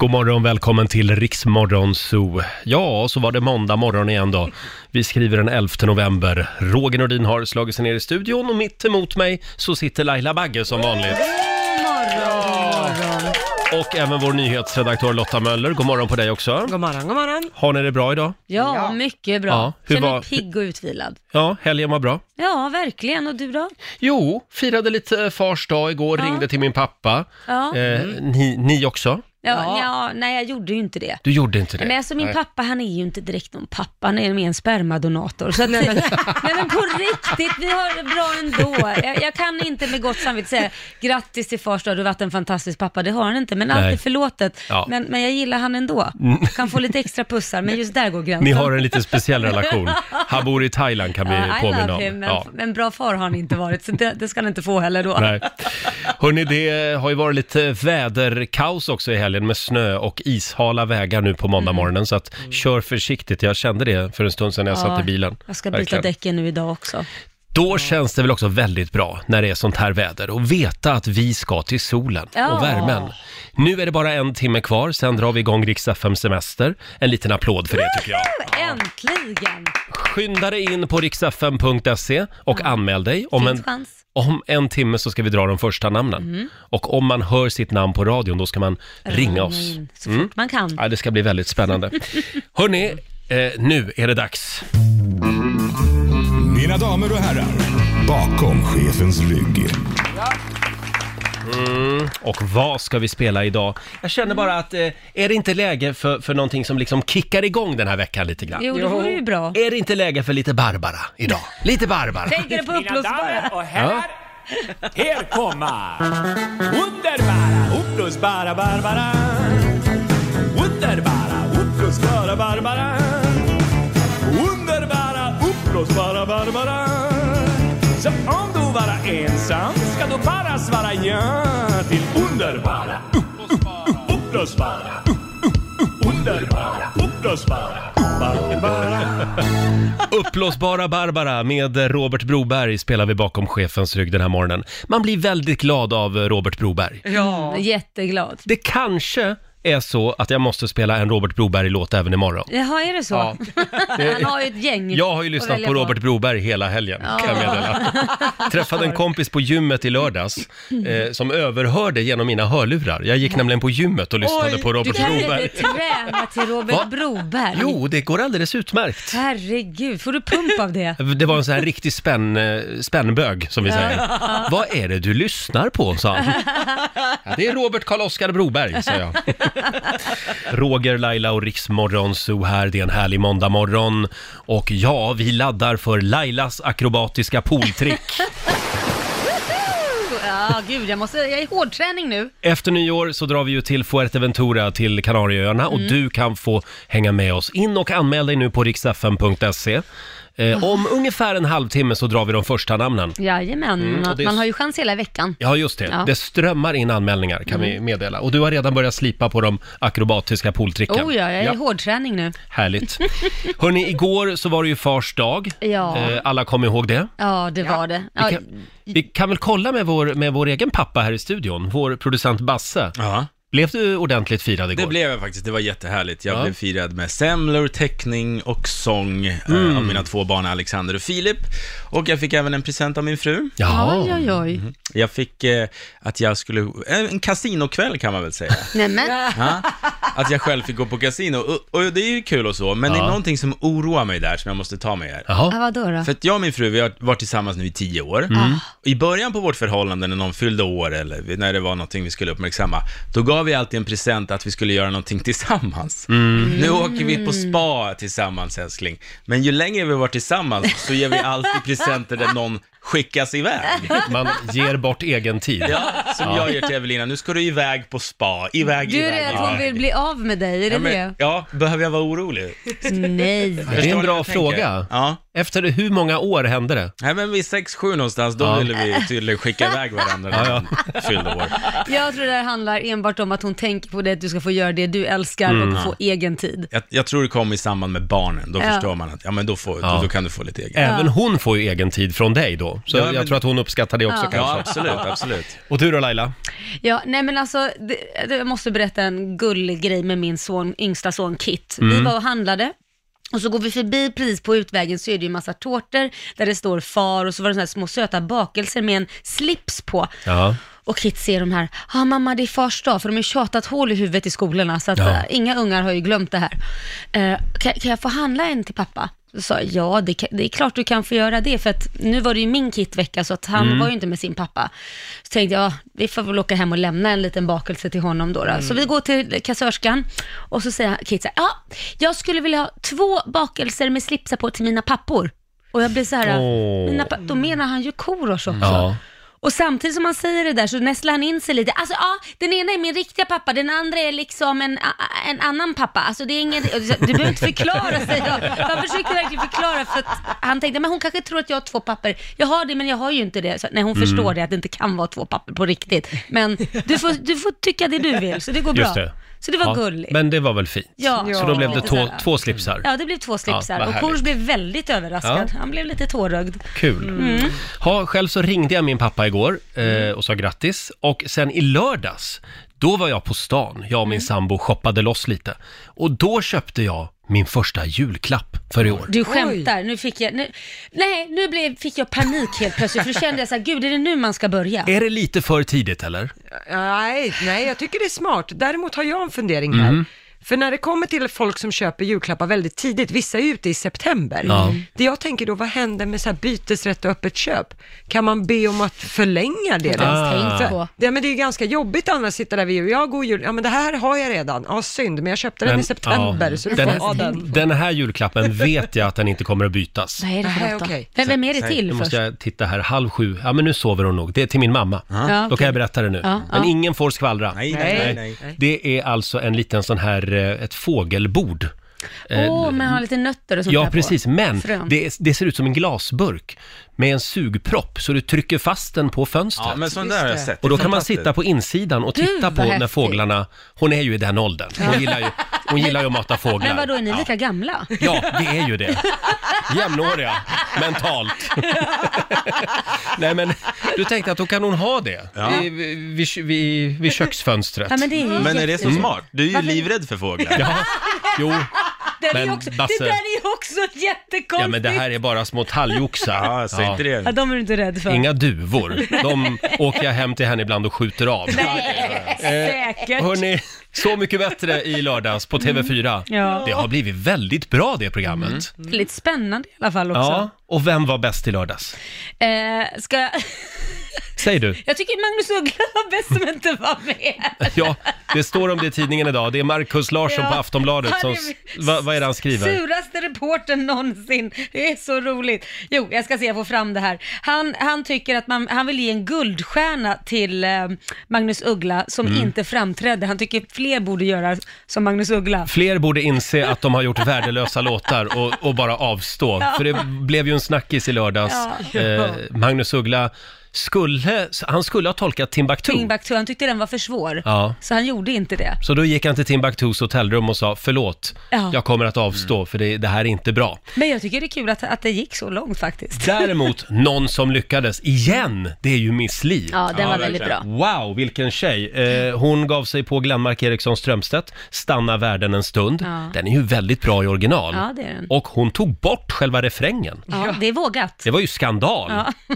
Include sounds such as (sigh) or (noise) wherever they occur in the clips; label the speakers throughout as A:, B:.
A: God morgon, välkommen till Riksmorgon Zoo. Ja, så var det måndag morgon igen då. Vi skriver den 11 november. Roger Nordin har slagit sig ner i studion och mitt emot mig så sitter Laila Bagge som vanligt. Och även vår nyhetsredaktör Lotta Möller. God morgon på dig också.
B: God morgon, god morgon.
A: Har ni det bra idag?
C: Ja,
B: Ja.
C: mycket bra.
A: Ja, hur
C: Känner
A: var-
C: mig pigg och utvilad.
A: Ja, helgen var bra.
C: Ja, verkligen. Och du då?
A: Jo, firade lite eh, fars dag igår,
C: Ja.
A: ringde till min pappa.
C: Ja. Mm. Ja,
A: Eh, ni, ni också?
C: ja. nej jag gjorde ju inte det.
A: Du gjorde inte det?
C: Men alltså min
A: Nej.
C: pappa, han är ju inte direkt någon pappa, han är mer en
B: (laughs)
C: spermadonator. Så att, nej, men på riktigt, vi har det bra ändå. Jag, jag kan inte med gott samvete säga grattis till fars dag, du har varit en fantastisk pappa. Det har han inte, men allt
A: Nej.
C: är förlåtet.
A: Ja. Mm.
C: Men, men jag gillar han ändå. Kan få lite extra pussar, men just där går gränsen.
A: Ni har en lite speciell
C: (laughs)
A: relation. Han bor i Thailand kan vi
C: Ja, I
A: påminna
C: love
A: om.
C: him, men,
A: Ja.
C: men bra far har han inte varit, så det, det ska han inte få heller då.
A: Nej. Hörrni, det har ju varit lite väderkaos också i helgen med snö och ishala vägar nu på
C: Mm.
A: måndag morgonen. Så att kör försiktigt. Jag kände det för en stund sedan när jag
C: Ja,
A: satt i bilen.
C: Jag ska byta
A: Verkligen.
C: däcken nu idag också.
A: Då känns det väl också väldigt bra när det är sånt här väder och veta att vi ska till solen
C: Ja.
A: och värmen. Nu är det bara en timme kvar, sen drar vi igång riks semester En liten applåd för det tycker jag.
C: Äntligen!
A: Skynda dig in på riksfm.se och anmäl dig. Om
C: Finns
A: en,
C: Mm. chans. Mm.
A: om en timme så ska vi dra de första namnen. Och om man hör sitt namn på radion, då ska man ringa oss. Mm.
C: in Så fort man kan.
A: Ja, det ska bli väldigt
C: (laughs)
A: spännande. Hörni, eh, nu är det dags.
D: Mina damer och herrar, bakom chefens rygg.
A: Och vad ska vi spela idag? Jag känner bara att, eh, är det inte läge för, för någonting som liksom kickar igång den här veckan lite grann?
C: Jo, det vore ju bra.
A: Är det inte läge för lite Barbara
C: (laughs)
A: idag? Lite Barbara!
C: Tänker det på
E: Mina damer
C: upplösbara. (laughs)
E: och herrar, här kommer underbara, upplösbara Barbara. Underbara, upplösbara Barbara. Underbara, upplösbara Barbara. Så om du bara ensam ska du bara svara ja till underbara, upp- upp- upplösbara, upp- upp- underbara, upplösbara Barbara.
A: Uppblåsbara Barbara med Robert Broberg spelar vi bakom chefens rygg den här morgonen. Man blir väldigt glad av eh, Robert Broberg.
C: Mm, Jätteglad.
A: Det kanske är så att jag måste spela en Robert Broberg-låt även imorgon.
C: Jaha, är det så?
A: Ja.
C: (laughs) Han har ju ett gäng
A: Jag har ju
C: att
A: lyssnat
C: välja
A: på Robert Broberg hela helgen, kan jag meddela.
C: (laughs)
A: Träffade en kompis på gymmet i lördags eh, som överhörde genom mina hörlurar. Jag gick nämligen på gymmet och lyssnade
B: Oj,
A: på
C: Du
A: Robert
C: kan
A: Broberg.
C: inte träna till
A: Va?
C: Robert Broberg.
A: Jo, det går alldeles utmärkt.
C: Herregud, får du pump av det?
A: Det var en sån här riktig spänn, eh, spännbög, som vi säger. Vad är det du lyssnar på, sa han. Ja, det är Robert Karl-Oskar Broberg, sa jag. Roger, Laila och Riksmorgon Zoo här. Det är en härlig måndagmorgon. Och ja, vi laddar för Lailas akrobatiska pooltrick.
C: Ja, gud, jag, måste, jag är i hårdträning nu.
A: Efter nyår så drar vi ju till Fuerteventura till Kanarieöarna och du kan få hänga med oss. In och anmäl dig nu på riksfn.se. Eh, om ungefär en halvtimme så drar vi de första namnen.
C: Jajamän,
A: Mm, och det är-
C: man har ju chans hela veckan.
A: Ja, just det.
C: Ja. Mm.
A: Det strömmar in anmälningar kan vi meddela. Och du har redan börjat slipa på de akrobatiska pooltricken.
C: Oh ja, jag är i hårdträning nu. (laughs)
A: Härligt. Hörni, igår så var det ju fars dag.
C: Ja.
A: Eh, alla kom ihåg det.
C: Ja, det var det.
A: Vi
C: Ja,
A: kan, vi kan väl kolla med vår, med vår egen pappa här i studion, vår producent Basse.
F: Ja,
A: Blev du ordentligt firad igår?
F: det blev jag faktiskt. Det var jättehärligt. Jag
A: Ja.
F: blev firad med semlor, teckning och sång
A: Mm.
F: eh, av mina två barn Alexander och Filip. Och jag fick även en present av min fru.
A: Jaha.
C: Oj, oj, oj.
A: Mm.
F: Jag fick eh, att jag skulle, eh, en kasinokväll kan man
A: (laughs)
F: väl säga.
C: Nej, men,
F: Ja? Att jag själv fick gå på kasino. Och, och det är ju kul och så, men det
A: Ja.
F: är någonting som oroar mig där som jag måste ta med er.
C: ja,
A: Jaha.
C: vadå då?
F: För att jag och min fru, vi har varit tillsammans nu i tio år.
A: Mm.
F: Ah. I början på vårt förhållande, när någon fyllde år eller när det var någonting vi skulle uppmärksamma, då gav vi alltid en present att vi skulle göra någonting (laughs) tillsammans.
A: Mm.
F: Nu åker vi på spa tillsammans älskling. Men ju längre vi har varit tillsammans så ger vi alltid presenter där någon skickas iväg.
A: Man ger bort egen tid.
F: Ja, som jag gör till Evelina, nu ska du iväg på spa, iväg,
C: Du är
F: iväg,
C: rädd att hon
F: iväg.
C: vill bli av med dig, är det
F: Ja, men,
C: det?
F: ja, behöver jag vara orolig?
C: Nej.
A: Det är
F: Förstår
A: en
F: ni vad
A: bra
F: jag tänker?
A: fråga.
F: Ja.
A: Efter hur många år hände det?
F: Nej men vid 6-7 någonstans, då
A: Ja.
F: ville vi tydligen skicka iväg varandra när
A: Ja,
F: man fyllde år.
C: Jag tror det här handlar enbart om att hon tänker på det, att du ska få göra det du älskar
F: Mm.
C: och få egen tid.
F: Jag, jag tror det kom i samband med barnen, då
C: Ja.
F: förstår man att ja men då, får,
A: Ja.
F: då, då kan du få lite eget.
A: Även hon får ju egen tid från dig då. så. Så
F: Ja,
A: jag
F: men-
A: tror att hon uppskattar det också
C: Ja.
F: Ja,
A: kanske.
F: absolut, absolut.
A: Och du då Laila?
C: Ja, nej men alltså, det, det, jag måste berätta en gullig grej med min son, yngsta son Kit.
F: Mm.
C: Vi var och handlade. Och så går vi förbi precis på utvägen så är det ju massa tårtor där det står far och så var det såna här små söta bakelser med en slips på.
A: Ja.
C: Och Kit ser de här, ja ah, mamma det är fars dag, för de har ju tjatat hål i huvudet i skolorna så att
A: Ja.
C: eh, inga ungar har ju glömt det här. Eh, kan, kan jag få handla en till pappa? Så sa jag, ja det, kan, det är klart du kan få göra det, för att nu var det ju min Kit-vecka så att
A: Mm.
C: han var ju inte med sin pappa. Så tänkte jag, ja, vi får väl åka hem och lämna en liten bakelse till honom då. då. Så
A: Mm.
C: vi går till kassörskan och så säger Kit så här, ja, jag skulle vilja ha två bakelser med slipsar på till mina pappor. Och jag blir så här,
A: Åh.
C: mina, pa- då menar han ju Korosh också.
A: Ja.
C: Och samtidigt som han säger det där så nästlar han in sig lite. Alltså ja, den ena är min riktiga pappa, den andra är liksom en, a- en annan pappa. Alltså det är ingen... Du behöver inte förklara, säger jag. Han försökte verkligen förklara för att han tänkte, men hon kanske tror att jag har två papper. Jag har det, men jag har ju inte det. Så, nej,
A: Mm.
C: hon förstår det, att det inte kan vara två papper på riktigt. Men du får, du får tycka det du vill, så det går bra.
A: Just det.
C: Så det var
A: Ja,
C: gulligt.
A: Men det var väl fint?
C: Ja.
A: Så då blev det
C: Lite
A: två,
C: så här.
A: två slipsar?
C: Ja, det blev två slipsar
A: Ja, vad
C: och
A: härligt.
C: Korosh blev väldigt överraskad.
A: Ja.
C: Han blev lite tårögd.
A: Kul.
C: Mm.
A: Ha, själv så ringde jag min pappa igår eh, och sa grattis. Och sen i lördags, då var jag på stan. Jag och min
C: Mm.
A: sambo shoppade loss lite. Och då köpte jag min första julklapp för i år.
C: Du skämtar, nu fick jag, nu, nej nu blev, fick jag panik helt plötsligt för då kände jag så här, gud är det nu man ska börja?
A: Är det lite för tidigt eller?
B: Nej, nej, jag tycker det är smart. Däremot har jag en fundering här.
A: Mm.
B: För när det kommer till folk som köper julklappar väldigt tidigt, vissa är ute i september.
A: Ja.
B: Det jag tänker då, vad händer med så här bytesrätt och öppet köp? Kan man be om att förlänga det? då?
A: ens tänkt
B: För-
C: på.
B: Ja, men det är ju ganska jobbigt annars att sitta där vid jul. Jag går jul, ja men det här har jag redan. Ja, synd, men jag köpte den i september,
A: ja,
B: så du
A: den,
B: får ha den.
A: den här julklappen vet jag att den inte kommer att bytas.
C: Vad är det för
B: Nej,
C: något då?
B: okej.
C: Vem, vem är det
A: Nu
C: till först?
A: måste jag titta här, halv sju. Ja men nu sover hon nog. Det är till min mamma.
C: Ja,
A: Då
C: okej.
A: kan jag berätta det nu.
C: Ja,
A: men
C: ja.
A: ingen får skvallra.
F: Nej, nej, nej.
A: Det är alltså en liten sån här, eh, ett fågelbord.
C: Åh, oh, men har lite nötter och sånt
A: eh, Ja,
C: där
A: precis.
C: på.
A: Men
C: Frön.
A: det, det ser ut som en glasburk med en sugpropp, så du trycker fast den på fönstret.
F: Ja, men sån där har jag sett.
A: Och då kan man
F: Fantastiskt.
A: sitta på insidan och
C: Gud,
A: titta
C: vad
A: på när
C: häftigt.
A: fåglarna... Hon är ju i den åldern. Hon gillar ju, hon gillar ju att mata fåglar.
C: Men vadå, är ni lika gamla?
A: Ja, det är ju det. Jämnåriga,
C: (laughs)
A: mentalt. Nej men, du tänkte att då kan hon ha det
F: Ja.
A: I- vid, vid, vid köksfönstret.
C: Ja, men det är ju
F: Men är det så
C: jätte-
F: smart? Du är ju
C: Varför-
F: livrädd för fåglar.
A: Ja, jo.
C: Det, där är
A: Men,
C: ju också,
A: Basse-
C: det där är ju också jättekonstigt!
A: Ja men det här är bara små talgoxar.
F: Ja, jag säger inte
C: Ja,
F: det.
C: de är du inte rädd för?
A: Inga duvor. De åker jag hem till henne ibland och skjuter av.
C: Nej, (laughs) säkert!
A: Hörni, Så mycket bättre i lördags på TV4.
C: Mm. Ja.
A: Det har blivit väldigt bra det programmet.
C: Lite spännande i alla fall också.
A: Ja, och vem var bäst i lördags?
C: Eh, ska (laughs) jag...
A: Säg du.
C: jag tycker Magnus Uggla var bäst som inte var med.
A: Ja, det står om det i tidningen idag. Det är Markus Larsson
C: Ja.
A: på Aftonbladet som...
C: Han är-
A: Va, vad är det han skriver?
C: Suraste reporten någonsin. Det är så roligt. Jo, jag ska se jag får fram det här. Han, han tycker att man, han vill ge en guldstjärna till eh, Magnus Uggla som
A: Mm.
C: inte framträdde. Han tycker fler borde göra som Magnus Uggla.
A: Fler borde inse att de har gjort värdelösa låtar och, och bara avstå. För det blev ju en snackis i lördags. Eh, Magnus Uggla skulle, han skulle ha tolkat Timbuktu.
C: Timbuktu, han tyckte den var för svår.
A: Ja.
C: Så han gjorde inte det.
A: Så då gick han till Timbuktus hotellrum och sa förlåt,
C: Ja.
A: jag kommer att avstå för det, det här är inte bra.
C: Men jag tycker det är kul att, att det gick så långt faktiskt.
A: Däremot någon som lyckades igen, det är ju Miss Li.
C: Ja, den var
F: verkligen.
C: väldigt bra.
A: Wow, vilken tjej! Eh, hon gav sig på Glenmark Eriksson Strömstedt, Stanna världen en stund.
C: Ja.
A: Den är ju väldigt bra i original.
C: Ja, det är den.
A: Och hon tog bort själva refrängen.
C: Ja, det är vågat.
A: Det var ju skandal,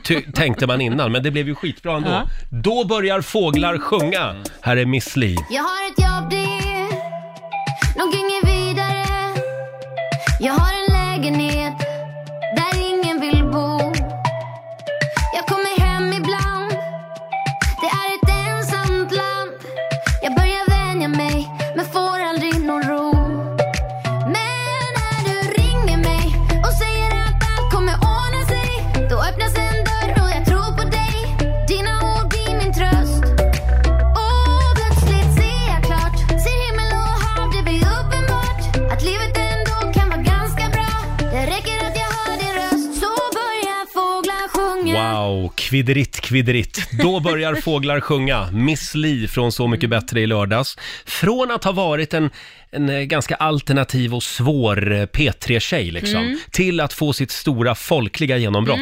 A: ty- tänkte man innan, men det blev ju skitbra ändå. Då börjar fåglar sjunga. Här är Miss Li.
G: Jag har ett jobb det är nog inget vidare Jag har en lägenhet där ingen vill bo Jag kommer hem ibland Det är ett ensamt land Jag börjar vänja mig men får aldrig någon ro Men när du ringer mig och säger att allt kommer ordna sig Då öppnas en dörr och jag tror på dig Dina ord blir min tröst och plötsligt ser jag klart, ser
A: Wow, kvidritt, kvidritt. Då börjar fåglar sjunga. Miss Li från Så mycket bättre i lördags. Från att ha varit en, en eh, ganska alternativ och svår eh, P3-tjej liksom,
C: Mm.
A: till att få sitt stora folkliga genombrott.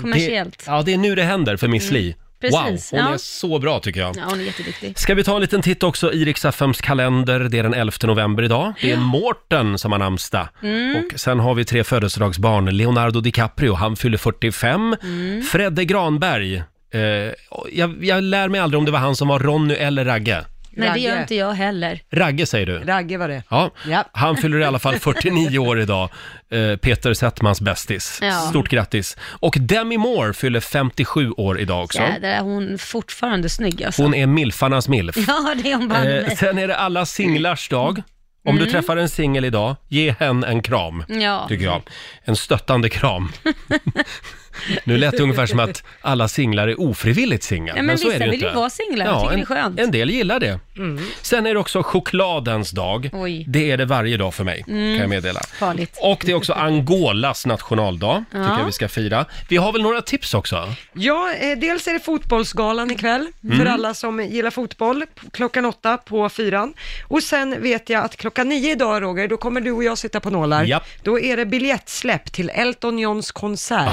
C: Kommersiellt. Mm.
A: Det, ja, det är nu det händer för Miss Li.
C: Precis,
A: wow, hon
C: ja.
A: är så bra tycker jag.
C: Ja, hon är jätteduktig.
A: Ska vi ta en liten titt också i Rix FMs kalender. Det är den 11 november idag. Det är Mårten som har namnsdag.
C: Mm.
A: Och sen har vi tre födelsedagsbarn. Leonardo DiCaprio, han fyller 45.
C: Mm.
A: Fredde Granberg. Eh, jag, jag lär mig aldrig om det var han som var Ronny eller Ragge.
C: Nej, det gör
B: Ragge.
C: inte jag heller.
A: Ragge säger du?
B: Ragge var det.
A: Ja.
B: Ja.
A: han fyller i alla
C: (laughs)
A: fall 49 år idag. Eh, Peter Settmans bästis.
C: Ja.
A: Stort grattis. Och Demi Moore fyller 57 år idag också.
C: Jädrar, är hon fortfarande snygg alltså.
A: Hon är milfarnas milf.
C: Ja, det är hon banne
A: Eh,
C: mig.
A: sen är det alla singlars dag. Om du träffar en singel idag, ge hen en kram,
C: Mm. Ja.
A: tycker jag. En stöttande
C: (laughs)
A: kram. nu lät det ungefär som att alla singlar är ofrivilligt singlar,
C: Ja, men
A: men, så
C: vissa
A: är det ju
C: vill
A: inte.
C: ju vara singlar, jag tycker det är skönt. Mm.
A: En, en del gillar det. Sen är det också chokladens dag.
C: Oj. Mm.
A: Det är det varje dag för mig, kan jag meddela.
C: Farligt.
A: Och det är också Angolas nationaldag, tycker
C: Ja.
A: jag vi ska fira. Vi har väl några tips också?
B: Ja, eh, dels är det fotbollsgalan ikväll för
A: Mm.
B: alla som gillar fotboll p- klockan åtta på fyran. Och sen vet jag att klockan nio idag Roger, då kommer du och jag sitta på nålar.
A: Japp.
B: Då är det biljettsläpp till Elton Johns konsert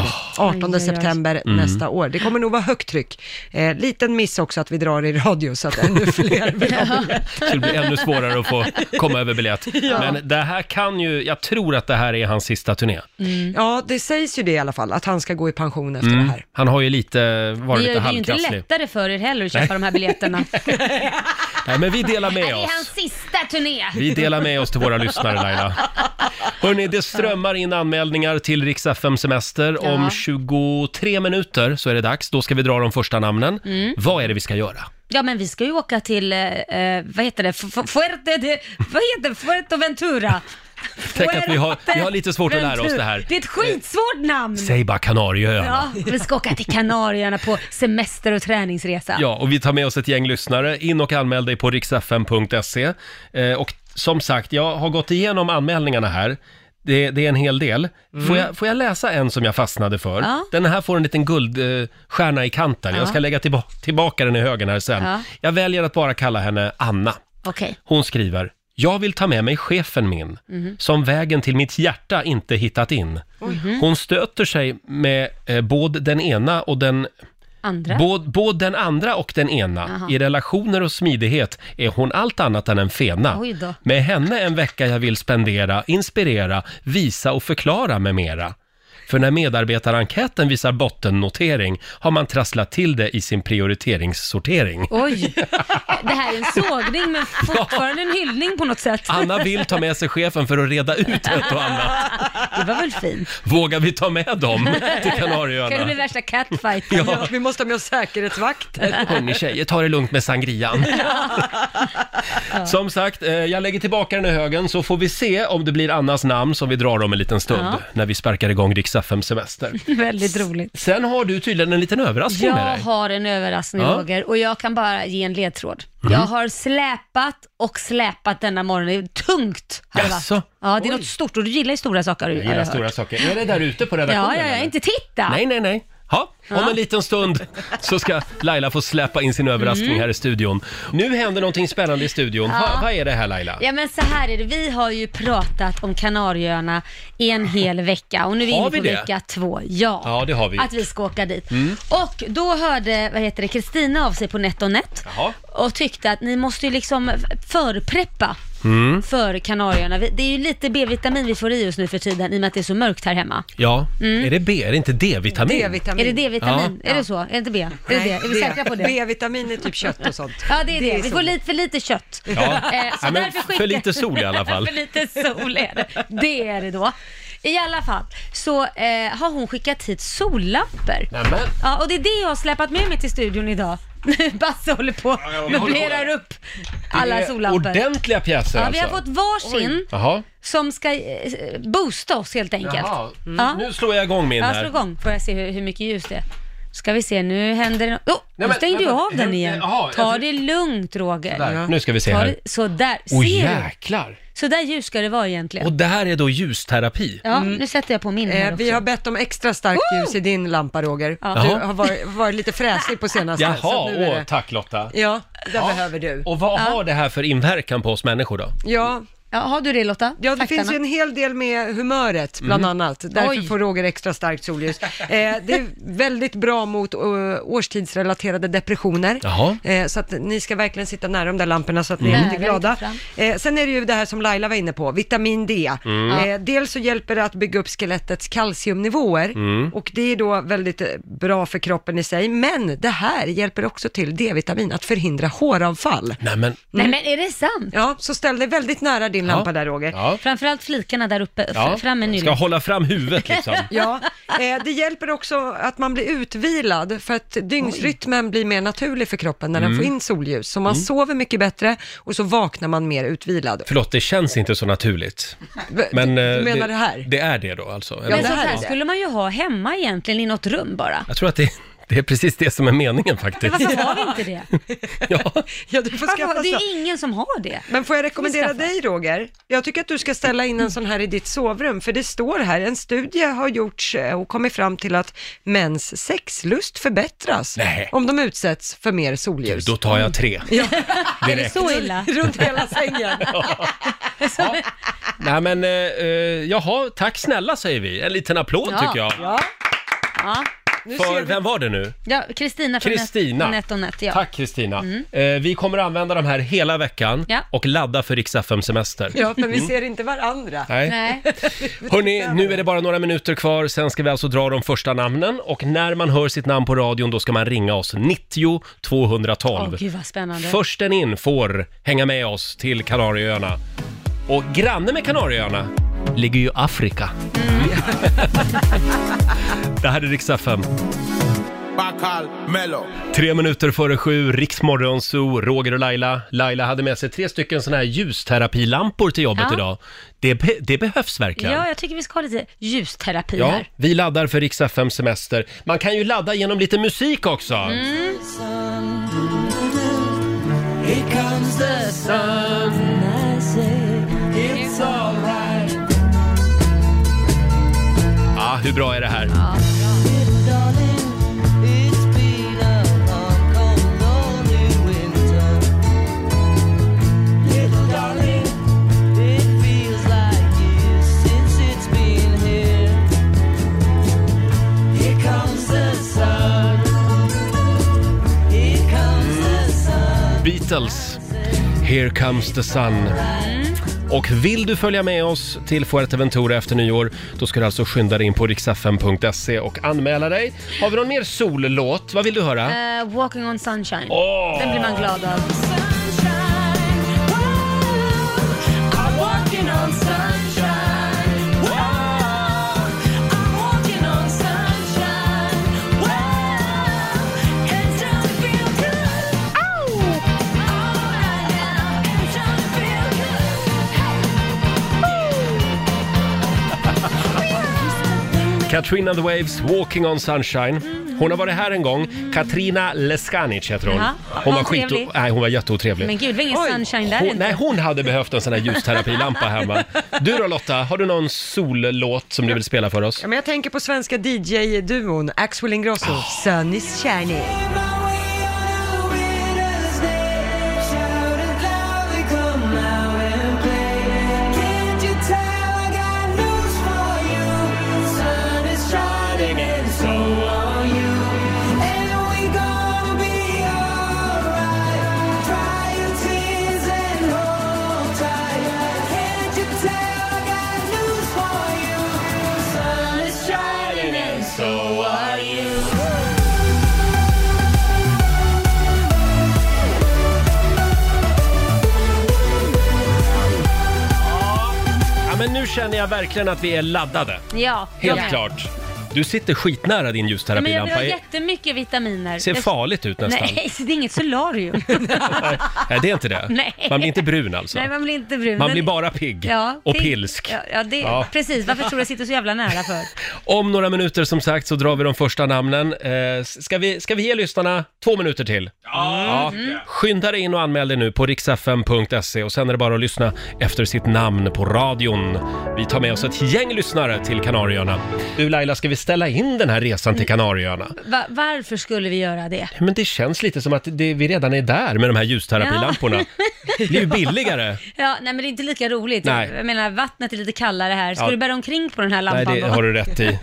A: Ah.
B: 18
C: Aj, aj, aj.
B: september
A: Mm.
B: nästa år. Det kommer nog vara högt tryck. Eh, liten miss också att vi drar i radio så att
A: (laughs)
B: ännu fler vill ha biljett.
A: Det skulle bli ännu svårare att få komma över
C: (laughs)
A: biljett. Men det här kan ju, jag tror att det här är hans sista turné.
B: Ja, det sägs ju det i alla fall, att han ska gå i pension efter
A: Mm.
B: det här.
A: Han har ju lite,
C: Det
A: varit
C: gör
A: lite
C: det är ju inte
A: halvkrasslig.
C: lättare för er heller att köpa de
A: (laughs)
C: här biljetterna.
A: Nej, men vi delar
C: (laughs) Det
A: med
C: är hans
A: oss.
C: sista turné.
A: Vi delar med oss till våra lyssnare Laila. Hörrni, det strömmar in anmälningar till Rix FM Semester. Om
C: Ja.
A: 23 minuter så är det dags. Då ska vi dra de första namnen.
C: Mm.
A: Vad är det vi ska göra?
C: Ja, men vi ska ju åka till, eh, eh, vad heter det, F- F- Fuerte, de, vad heter det? Fuerteventura.
A: Tänk att vi har- vi har lite svårt att lära oss
C: Fuerteventura.
A: det här.
C: Det är ett skitsvårt namn.
A: Säg bara Kanarieöarna. Ja.
C: Ja, vi ska åka till Kanarierna på semester och träningsresa.
A: och vi tar med oss ett gäng lyssnare. In och anmäl dig på riksfm.se. Eh, och som sagt, jag har gått igenom anmälningarna här. Det, det är en hel del. Får, jag, får jag läsa en som jag fastnade för?
C: Mm. Ja.
A: Den här får en liten guldstjärna eh, stjärna i kanten. Jag ska lägga tillba- tillbaka den i högen här sen.
C: Ja.
A: Jag väljer att bara kalla henne Anna.
C: Okej.
A: Hon skriver, jag vill ta med mig chefen min,
C: Mhm.
A: som vägen till mitt hjärta inte hittat in.
C: Mhm.
A: Hon stöter sig med eh, både den ena och den
C: Andra?
A: Både, både den andra och den ena. I relationer och smidighet är hon allt annat än en fena.
C: Oj då.
A: Med henne en vecka jag vill spendera, inspirera, visa och förklara med mera. För när medarbetarenkäten visar bottennotering har man trasslat till det i sin prioriteringssortering.
C: Oj, det här är en sågning men fortfarande en hyllning på något sätt.
A: Anna vill ta med sig chefen för att reda ut ett och
C: (laughs)
A: annat.
C: Det var väl fint?
A: Vågar vi ta med dem till
C: Kan det bli
A: Kanarieöarna?
C: värsta catfighten?
A: (laughs) Ja.
B: Ja, vi måste ha med oss säkerhetsvakter.
A: Hörni tjejer, ta det lugnt med
C: (laughs)
A: sangrian. Som sagt, eh, jag lägger tillbaka den i högen så får vi se om det blir Annas namn som vi drar om en liten stund
C: Ja.
A: när vi sparkar igång Rix FM semester.
C: Väldigt roligt.
A: Sen har du tydligen en liten överraskning
C: Jag
A: med dig.
C: har en överraskning
A: Ja. Mhm.
C: Roger och jag kan bara ge en ledtråd. Jag har släpat och släpat denna morgon. Det är tungt. har det varit.
A: Jaså?
C: Ja, det är något stort och du gillar ju stora saker.
A: Jag gillar stora saker. Är det där ute på redaktionen?
C: Ja, ja, ja,
A: eller?
C: inte titta.
A: Nej, nej, nej. Ha, om en liten stund så ska Laila få släppa in sin överraskning här i studion. Nu händer någonting spännande i studion. Va, vad är det här Laila?
C: Mm. Ja men så här är det, vi har ju pratat om Kanarieöarna i en hel vecka och nu är vi
A: Har
C: inne
A: vi
C: på
A: det?
C: vecka två. Ja,
A: Ja, det har vi Mm.
C: Att vi ska åka dit. Och då hörde, vad heter det, Kristina av sig på NetOnNet
A: Jaha.
C: och tyckte att ni måste ju liksom förpreppa
A: Mm.
C: för Kanarieöarna. Vi- Det är ju lite B-vitamin vi får i oss nu för tiden i och med att det är så mörkt här hemma.
A: Ja,
C: Mm.
A: är det B? Är det inte D-vitamin?
B: D-vitamin.
C: Är det D-vitamin? Är det så? Är det inte B? Är, det
B: Nej,
C: det? är vi säkra på det?
B: B-vitamin är typ kött och sånt.
C: Ja, det är det.
B: är
C: Vi
B: så.
C: får lite, för lite kött.
A: Ja.
C: Eh, så
A: Ja, men
C: därför
A: för
C: skickar-
A: lite sol i alla fall.
C: (laughs) för lite sol är det. Det är det då. I alla fall så eh, har hon skickat hit sollampor.
A: Nämen.
C: Ja, och det är det jag har släpat med mig till studion idag. (laughs) Basse håller på och möblerar upp alla sollampor.
A: Ordentliga pjäser
C: Ja, vi
A: alltså.
C: har fått varsin
A: Jaha.
C: som ska eh, boosta oss helt enkelt.
A: Jaha,
C: Ja.
B: Mm.
A: nu slår jag igång min
C: Ja,
A: här.
C: slå igång får jag se hur, hur mycket ljus det är. Ska vi se, nu händer det no- oh,
A: Nej,
C: Nu
A: men-
C: stängde du
A: vänta,
C: av den
A: hem-
C: igen.
A: jaha, jag
C: Ta
A: tro-
C: det lugnt Roger.
A: Där, nu ska vi se
C: Ta
A: här.
C: det, sådär,
A: Åh
C: ser du?
A: jäklar!
C: Sådär ljus ska det vara egentligen.
A: Och Mm. det här är då ljusterapi.
C: Ja, nu sätter jag på min här
B: Eh,
C: också.
B: vi har bett om extra starkt ljus i din lampa, Roger.
A: Jaha.
B: Du har varit, varit lite fräsig på senaste.
A: Jaha,
B: så att nu är
A: åh,
B: det-
A: tack Lotta.
B: Ja, det behöver du.
A: Och vad har det här för inverkan på oss människor då?
B: Ja,
C: Ja, har du det Lotta?
B: Ja, det
C: Faktarna?
B: finns ju en hel del med humöret, bland
A: Mhm.
B: annat. Därför
C: Oj.
B: får Roger extra starkt solljus. Eh, det är väldigt bra mot eh, årstidsrelaterade depressioner.
A: Jaha.
B: Eh, så att ni ska verkligen sitta nära de där lamporna så att ni
C: Mm.
B: är lite
C: Nära,
B: glada.
C: lite fram.
B: Eh, sen är det ju det här som Laila var inne på, vitamin D.
A: Mm.
B: Eh, dels så hjälper det att bygga upp skelettets kalciumnivåer
A: Mm.
B: och det är då väldigt eh, bra för kroppen i sig. Men det här hjälper också till D-vitamin, att förhindra håravfall.
A: Nej men,
C: Nej men är det sant?
B: Ja, så ställ dig väldigt nära din lampa där Roger.
A: ja.
C: Framförallt flikarna där uppe, fr-
A: ja.
C: framme nyligen.
A: Ska hålla fram huvudet
B: (laughs)
A: liksom.
B: Ja, eh, det hjälper också att man blir utvilad för att dygnsrytmen blir mer naturlig för kroppen när den får in solljus. Så man sover mycket bättre och så vaknar man mer utvilad.
A: Förlåt, det känns inte så naturligt. Men,
B: Men, du,
A: eh,
B: du menar det, här?
A: Det är det då alltså?
B: Ja,
C: men
B: det
C: sånt
B: här
C: här
B: är det.
C: skulle man ju ha hemma egentligen i något
A: (laughs)
C: rum bara.
A: Jag tror att det, det är precis det som är meningen faktiskt.
C: Varför har vi inte
A: (laughs)
C: det?
A: Ja.
B: Ja, du får
C: Varför,
B: skaffa
C: har- det
B: så.
C: är ju ingen som har det.
B: Men får jag rekommendera
C: Skaffa.
B: dig Roger? Jag tycker att du ska ställa in en sån här i ditt sovrum, för det står här, en studie har gjorts eh, och kommit fram till att mäns sexlust förbättras
A: Nej.
B: om de utsätts för mer solljus.
A: Då tar jag tre.
C: Är det så illa?
B: Runt hela (laughs) sängen.
A: Nej men, eh, eh, jaha, tack snälla säger vi. En liten applåd
C: Ja.
A: tycker jag.
C: Ja.
B: Nu
A: För,
B: ser vi-
A: vem var det nu?
C: Ja, Kristina från
A: Kristina.
C: Net- från Net on Net, ja. Mm.
A: Tack Kristina. Eh, vi kommer att använda de här hela veckan
C: Ja.
A: och ladda för Rix FM-semester.
B: Ja, men vi ser inte varandra.
A: Nej. (laughs)
C: Nej.
A: Hörni, nu är det bara några minuter kvar, sen ska vi alltså dra de första namnen och när man hör sitt namn på radion då ska man ringa oss 90 212.
C: Åh gud vad spännande.
A: Försten in får hänga med oss till Kanarieöarna. Och granne med Kanarieöarna ligger ju Afrika.
C: Mm.
A: (laughs) Det här är riksdag 5.
H: Bacal Mello.
A: Tre minuter före sju, Riksmorgon Zoo, Roger och Laila. Laila hade med sig tre stycken såna här ljusterapilampor till jobbet
C: Ja.
A: idag. Det, be- det behövs verkligen.
C: Ja, jag tycker vi ska ha lite ljusterapi
A: Ja,
C: här.
A: vi laddar för Rix FM semester. Man kan ju ladda genom lite musik också.
C: Mm.
A: Ja, Ah, hur bra är det här? Beatles. Here comes the sun.
C: Mm.
A: Och vill du följa med oss till Fuerteventura efter nyår, då ska du alltså skynda dig in på riksfm.se och anmäla dig. Har vi någon mer sollåt? Vad vill du höra?
C: Eh, walking on sunshine.
A: Åh!
C: Eh, Den blir man glad av.
A: Katrina the Waves, Walking on Sunshine. Hon har varit här en gång. Katrina Leskanic heter hon.
C: Jaha.
A: Hon
C: Var
A: var
C: hon
A: skit...
C: trevlig?
A: Nej, hon var jätteotrevlig.
C: Men gud, det var ingen sunshine där
A: Hon,
C: inte.
A: nej, hon hade behövt en sån här ljusterapilampa hemma. Du då Lotta, har du någon sollåt som du vill spela för oss?
B: Ja, men jag tänker på svenska DJ-duon Axel Ingrosso, Sun is shining.
A: Ja, men nu känner jag verkligen att vi är laddade.
C: Ja,
A: Helt
C: ja.
A: klart. Du sitter skitnära din
C: Nej, men jag vill
A: ljusterapilampa.
C: ha
A: Det
C: jättemycket vitaminer.
A: ser
C: Jag-
A: farligt ut nästan.
C: Nej, (laughs) så det är
A: (laughs)
C: inget solarium.
A: Nej, det är inte det.
C: Nej.
A: Man blir inte brun alltså.
C: Nej, man blir inte brun.
A: Man
C: men-
A: blir bara pigg och
C: pigg.
A: pilsk.
C: (laughs) Ja, ja, det,
A: Ja.
C: precis. Varför tror du jag sitter så jävla nära för?
A: Om några minuter som sagt så drar vi de första namnen. Eh, ska, vi, ska vi ge lyssnarna två minuter till? Ja. Skynda dig in och anmäl dig nu på riksfm.se och sen är det bara att lyssna efter sitt namn på radion. Vi tar med oss ett gäng lyssnare till Kanarieöarna. Du Laila, ska vi ställa in den här resan
C: Mm.
A: till Kanarieöarna?
C: Va, varför skulle vi göra det?
A: Men det känns lite som att det, vi redan är där med de här ljusterapilamporna. Det blir ju billigare.
C: Ja, nej men det är inte lika roligt.
A: Nej.
C: Jag menar vattnet är lite kallare här. Ska
A: Ja.
C: du bära omkring på den här
A: Nej,
C: (laughs) lampan
A: det
C: då?
A: har du rätt i.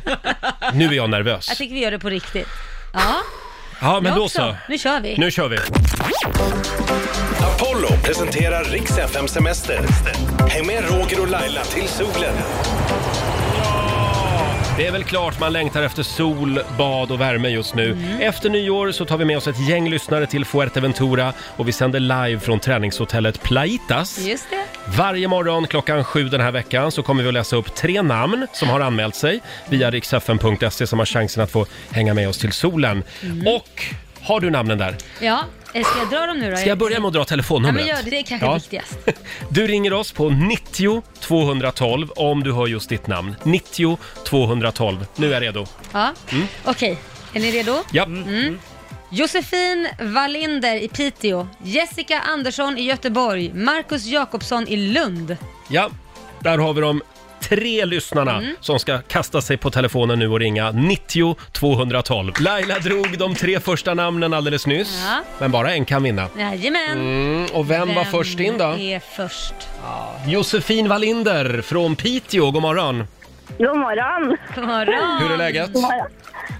A: Nu är jag
C: Jag
A: nervös.
C: tycker vi gör det på riktigt. Ja,
A: Ja, men
C: jag
A: då
C: också.
A: så.
C: Nu kör vi.
A: Nu kör vi.
I: Apollo presenterar Riks FM Semester. Häng med Roger och Laila till solen.
A: Det är väl klart man längtar efter sol, bad och värme just nu. Efter nyår så tar vi med oss ett gäng lyssnare till Fuerteventura och vi sänder live från träningshotellet Plaitas.
C: Just det.
A: Varje morgon klockan sju den här veckan så kommer vi att läsa upp tre namn som har anmält sig via riksfn.se som har chansen att få hänga med oss till solen. Och har du namnen där?
C: Ja, eh, ska jag dra dem nu då?
A: Ska jag börja med att dra
C: Ja,
A: telefonnumret?
C: men gör det. Det är kanske
A: Ja.
C: viktigast.
A: Du ringer oss på 90 212 om du hör just ditt namn. 90 212. Nu är jag redo.
C: Ja.
A: Mm.
C: Okej, är ni redo?
A: Ja. Mm.
C: Josefin Wallinder i Piteå, Jessica Andersson i Göteborg, Marcus Jakobsson i Lund.
A: Ja, där har vi de tre lyssnarna
C: Mm.
A: som ska kasta sig på telefonen nu och ringa 90 212. Laila drog de tre första namnen alldeles nyss,
C: Ja.
A: men bara en kan vinna.
C: Jajamän.
A: Mm, och vem, var först in då?
C: är först?
A: Josefin Wallinder från Piteå, god morgon.
J: God morgon!
C: God morgon.
A: Hur är läget?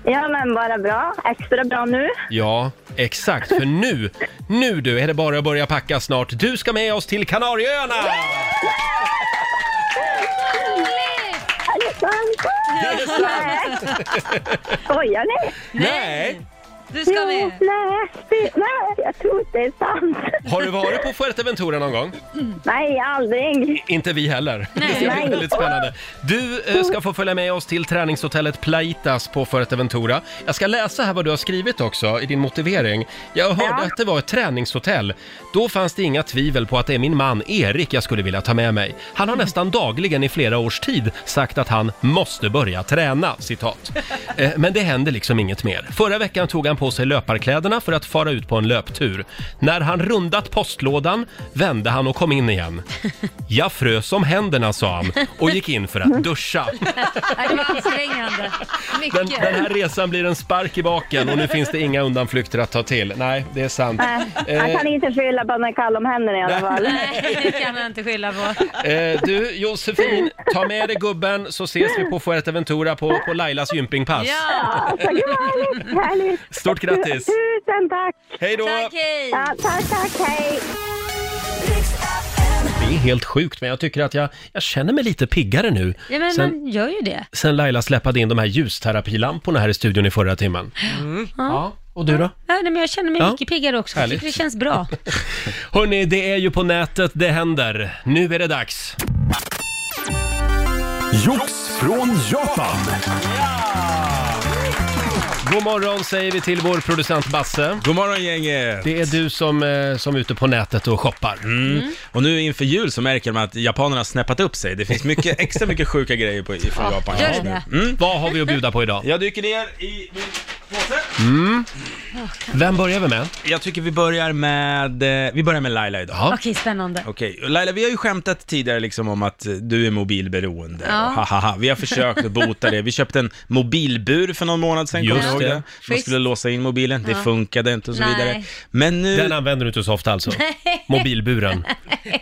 J: Ja men bara bra, extra bra nu.
A: Ja, exakt, för nu, nu du är det bara att börja packa snart. Du ska med oss till Kanarieöarna!
J: Är det sant?
A: Är det sant?
C: (laughs)
J: Skojar ni?
A: Nej!
C: Du ska med.
J: nej, det- nej, jag tror inte det är sant.
A: Har du varit på Fuerteventura någon gång?
J: Nej, aldrig.
A: Inte vi heller. Det ska bli
J: Nej.
A: väldigt spännande. Du eh, ska få följa med oss till träningshotellet Plaitas på Fuerteventura. Jag ska läsa här vad du har skrivit också i din motivering. Jag hörde att det var ett träningshotell. Då fanns det inga tvivel på att det är min man Erik jag skulle vilja ta med mig. Han har
J: Mm.
A: nästan dagligen i flera års tid sagt att han måste börja träna,
C: (laughs)
A: citat. Eh, Men det händer liksom inget mer. Förra veckan tog han på sig löparkläderna för att fara ut på en löptur. När han rundat postlådan vände han och kom in
C: (laughs)
A: igen. Jag frös om händerna, sa han och gick in för
C: (laughs)
A: att duscha.
C: Ja, Det var ansträngande.
A: Den,
C: Mycket.
A: den här resan blir en spark i baken och nu finns det inga undanflykter att ta till. Nej, det är sant.
J: Nej,
A: Eh.
J: jag kan inte skylla på att man kallar om händerna i alla fall.
C: Nej, (laughs) det kan man inte skylla på.
A: Eh, du, Josefin, ta med dig gubben så ses vi på Fuerteventura på, på Lailas gympingpass.
C: Ja,
A: Alltså,
J: Ja, så gud vad härligt, härligt.
A: Stort grattis.
J: Tusen tack!
A: Hej då!
C: tack hej.
J: Ja, tack, tack, hej!
A: Det är helt sjukt, men jag tycker att jag, jag känner mig lite piggare nu.
C: Ja, men
A: sen,
C: man gör ju det.
A: sen Laila släppade in de här ljusterapilamporna här i studion i förra timmen. Mm. Ja, och du då?
C: Ja, nej, men jag känner mig
A: Ja.
C: mycket piggare också.
A: Härligt.
C: Jag tycker det
A: (laughs)
C: känns bra.
A: Hörni, det är ju på nätet det händer. Nu är det dags.
D: Jox från Japan.
A: God morgon säger vi till vår producent Basse.
F: God morgon gänget!
A: Det är du som, eh, som är ute på nätet och shoppar.
F: Mm. Och nu inför jul så märker man att japanerna har snäppat upp sig. Det
A: (laughs)
F: finns mycket, extra mycket sjuka grejer på, från Japan
C: gör
F: just
C: det
F: nu.
C: det?
F: Mm.
A: Vad har vi att bjuda på idag?
F: Jag dyker ner i min påse.
A: Vem börjar vi med?
F: Jag tycker vi börjar med, eh, vi börjar med Laila idag.
A: Ja.
C: Okej, spännande.
F: Okej, och Laila vi har ju skämtat tidigare liksom om att eh, du är mobilberoende.
C: Ja.
F: Och hahaha, vi har försökt att bota det. Vi köpte en mobilbur för någon månad sedan,
A: Just
F: kommer
A: det.
F: ni ihåg det? Man
C: Schysst.
F: skulle låsa in mobilen, det
C: Ja.
F: funkade inte och så
C: Nej.
F: vidare. Men nu...
A: Den använder du inte så ofta alltså?
C: (laughs)
A: Mobilburen?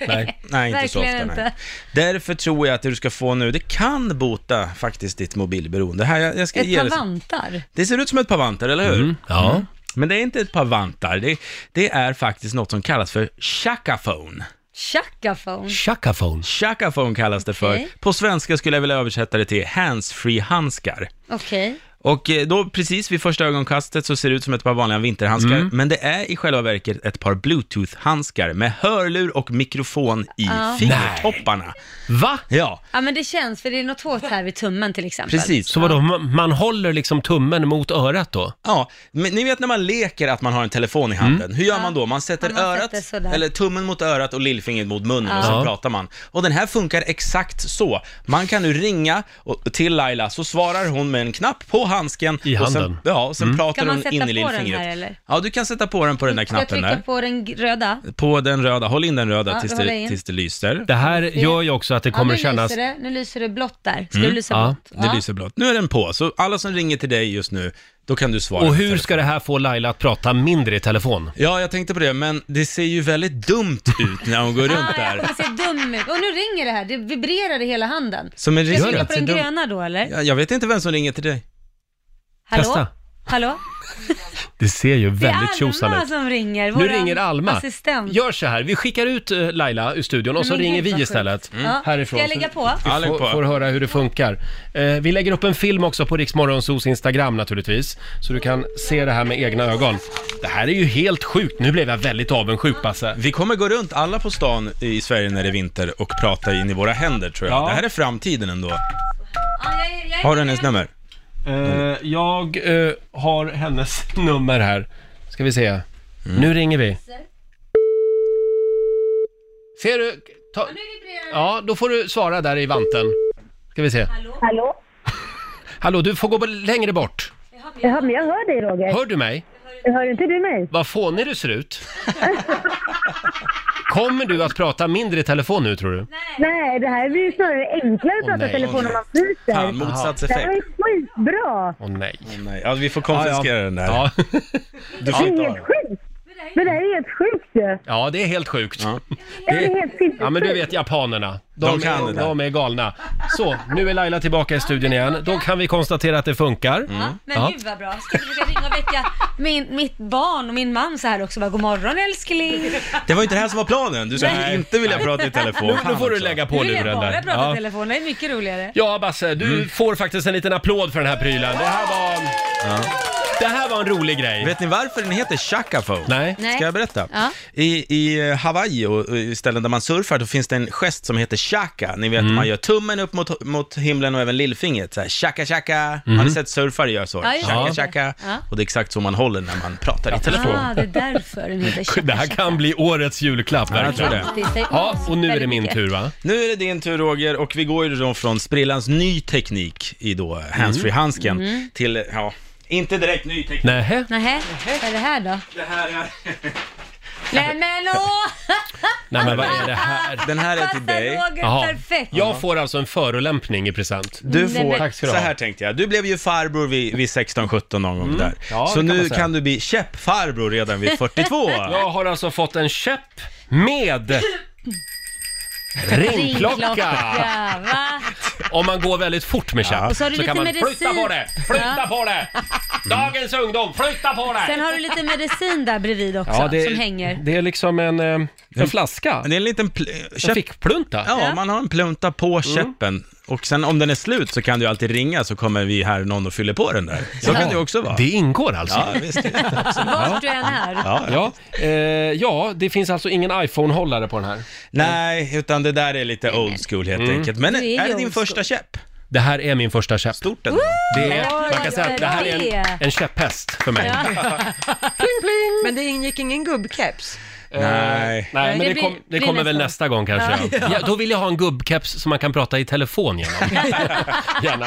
A: Nej.
F: Nej, inte så ofta.
C: Verkligen
F: Nej.
C: inte.
F: Därför tror jag att det du ska få nu, det kan bota faktiskt ditt mobilberoende. Här, jag, jag ska
C: Ett
F: ge
C: par
F: dig-
C: vantar.
F: Det ser ut som ett par vantar, eller hur?
A: Ja.
F: Men det är inte ett par vantar, det, det är faktiskt något som kallas för chakaphone.
C: Chackaphone.
A: Chacafone.
F: Chakaphone kallas det för.
C: Okej.
F: På svenska skulle jag vilja översätta det till handsfree-handskar.
C: Okej.
F: Och eh, då precis vid första ögonkastet så ser det ut som ett par vanliga vinterhandskar,
A: Mm.
F: men det är i själva verket ett par bluetooth-handskar med hörlur och mikrofon i
C: Ah.
F: fingertopparna.
A: Va?
F: Ja.
C: Ja men det känns, för det är något hårt här vid tummen till exempel.
F: Precis.
A: Så vadå, man, man håller liksom tummen mot örat då?
F: Ja, men ni vet när man leker att man har en telefon i handen,
A: Mm.
F: hur gör man då? Man sätter
C: Man sätter
F: örat,
C: sådär.
F: eller tummen mot örat och lillfingret mot munnen
C: Ja.
F: och sen
A: Ja.
F: pratar man. Och den här funkar exakt så. Man kan nu ringa och, till Laila, så svarar hon med en knapp på handsken.
A: I
F: och sen,
A: handen.
F: ja, och sen
A: Mm.
F: pratar
C: Kan man
F: hon
C: sätta
F: in
C: på
F: i
C: den här,
F: lillfingret.
C: eller?
F: Ja, du kan sätta på den på den där
C: Ska jag
F: knappen
C: trycka
F: där.
C: på den g- röda?
F: På den röda, håll in den röda
C: Ja,
F: tills,
C: då håller jag
F: det,
C: in.
F: tills det lyser.
A: Det här gör ju också att det kommer
C: ja, nu
A: kännas...
C: Lyser det, nu lyser det blått där. Ska
F: Mm.
C: det lysa
A: Ja,
C: blått?
F: Det lyser blått. Nu är den på, så alla som ringer till dig just nu, då kan du svara.
A: Och
F: på
A: hur
F: telefonen.
A: ska det här få Laila att prata mindre i telefon?
F: Ja, jag tänkte på det, men det ser ju väldigt dumt ut när hon
C: (laughs)
F: går runt
C: Ah, jag
F: där.
C: kommer se dum ut. Och nu ringer det här, det vibrerar i hela handen.
F: Som en
C: Ska jag
F: risk.
C: trycka på den gröna då eller?
F: Ja, Jag vet inte vem som ringer till dig.
C: Hallå?
A: Testa.
C: Hallå?
A: Det ser ju väldigt
C: det är
A: tjosan
C: Alma
A: ut.
C: som ringer.
A: Nu
C: våran
A: ringer Alma.
C: Assistent.
A: Gör så här, vi skickar ut eh, Laila ur studion och så
C: Men gud,
A: ringer
C: vad
A: vi
C: sjukt.
A: istället. Mm,
C: Ja.
A: Härifrån.
C: Ska jag lägga på?
F: Ja,
A: Vi
F: lägg
A: får,
F: på.
A: får höra hur det funkar. Eh, vi lägger upp en film också på Riksmorgonsos Instagram naturligtvis. Så du kan se det här med egna ögon. Det här är ju helt sjukt. Nu blev jag väldigt avundsjuk Basse.
F: Vi kommer gå runt alla på stan i Sverige när det är vinter och prata in i våra händer tror jag.
A: Ja.
F: Det här är framtiden ändå.
C: Ja, jag, jag, jag,
F: Har du hennes nummer?
A: Eh, jag eh, har hennes (laughs) nummer här. Ska vi
F: Mm.
A: se. Nu ringer vi. Ser du? Ta... Ja, då får du svara där i vanten. Ska vi se.
J: Hallå?
A: Hallå, du får gå b- längre bort.
J: Ja, men jag hör dig Roger.
A: Hör du mig?
J: Hör inte du mig?
A: Vad fånig du ser
J: (laughs)
A: ut. Kommer du att prata mindre i telefon nu tror du?
J: Nej, det här blir ju snarare enklare att
A: Åh,
J: prata
A: nej.
J: i telefon när man fryser.
F: Fan,
J: Det här var
F: motsatseffekt.
J: ju skitbra!
A: Åh nej.
F: Nej, ja, vi får konfiskera den där.
A: Ja. (laughs)
F: Du
J: Det
F: får
J: är
F: inte ha
J: helt
F: den.
J: sjukt! Men det här är helt sjukt ju!
A: ja, det är helt sjukt.
F: Ja.
J: Det här är helt sinnessjukt!
A: Ja men du vet japanerna, de,
F: De kan
A: är,
F: det där.
A: de är galna. Så, nu är Laila tillbaka i studion igen. Då kan vi konstatera att det funkar.
F: Mm.
C: Ja, men
A: Ja.
C: gud vad bra. Ska jag försöka ringa och väcka min, mitt barn och min man så här också? Bara, God morgon älskling.
F: Det var ju inte det här som var planen. Du skulle inte vilja prata i telefon.
A: Nu, nu
F: Fan
A: får du
F: också.
A: lägga på
C: Nu vill jag
A: luren
C: bara
A: där.
C: prata i
A: Ja.
C: telefon, det är mycket roligare.
A: ja Basse, du
F: Mm.
A: får faktiskt en liten applåd för den här prylen. Det här var, det här var en rolig grej.
F: Vet ni varför den heter Shakaphone?
A: Nej.
C: Nej.
F: Ska jag berätta?
C: Ja.
F: I, I eh, Hawaii och och i ställen där man surfar, då finns det en gest som heter shaka. Ni vet, man gör tummen upp mot, mot himlen och även lillfingret. Så här, shaka, shaka. Har ni sett surfare göra så?
C: Ja, just
F: shaka,
C: det.
F: shaka.
C: Ja.
F: Och det är exakt så man håller när man pratar i telefon.
C: Ah, det är därför den heter
A: (laughs)
C: Chaka
A: (laughs) Det här kan bli årets julklapp
F: jag
A: verkligen.
F: tror det.
A: Ja, och nu är det min tur va?
F: Nu är det din tur Roger och vi går ju då från sprillans ny teknik i då handsfree-handsken
C: Mm.
F: till, ja, inte direkt ny teknik.
A: Nähä?
C: Nähä, vad är det här då?
F: Det här är... (laughs)
C: Nej men åh!
A: Nej men vad är det här?
F: Den här är till
C: Passar
F: dig.
C: Roger
A: Jaha.
C: perfekt.
A: Jag får alltså en förolämpning i present.
F: Du
C: Nej, men-
F: får,
A: Tack ska
F: så
A: du ha.
F: här tänkte jag, du blev ju farbror vid, vid 16-17 någon gång där.
A: Ja,
F: så
A: det kan man
F: nu
A: säga.
F: kan du bli käppfarbror redan vid 42.
A: Jag har alltså fått en käpp med ringklocka.
C: Ringklocka, va?
A: Om man går väldigt fort med käpp
C: Och så har du
A: så
C: lite
A: kan man
C: medicin.
A: flytta på det, flytta
C: Ja.
A: på
C: (laughs)
A: det. Dagens ungdom, flytta på det.
C: Sen har du lite medicin där bredvid också som hänger.
A: det är liksom en, eh, en flaska.
F: Men Det är en liten pl-
A: En
F: käpp...
A: fickplunta.
F: Ja, man har en plunta på käppen. Och sen om den är slut så kan du alltid ringa så kommer vi här någon och fyller på den där. Så kan det också vara.
A: Det ingår alltså.
F: Ja, visst.
C: Vart du än är.
F: Ja.
A: Ja, eh, ja, det finns alltså ingen iPhone-hållare på den här.
F: Nej, utan det där är lite old school helt enkelt. Men
C: Det är ju
F: är det
C: old
F: din
C: school.
F: första käpp?
A: Det här är min första käpp.
F: Stort ändå.
A: Det är,
C: Oj,
A: man kan säga att det här är en, en käpphäst för mig.
B: Men det ingick ingen gubbkeps.
F: Nej.
A: Nej, men
C: Det
A: det,
C: blir-
A: kom, det
C: blir
A: kommer väl
C: nästa.
A: nästa gång kanske. Ja. då vill jag ha en gubbkeps som man kan prata i telefon
C: (laughs)
A: genom. Gärna.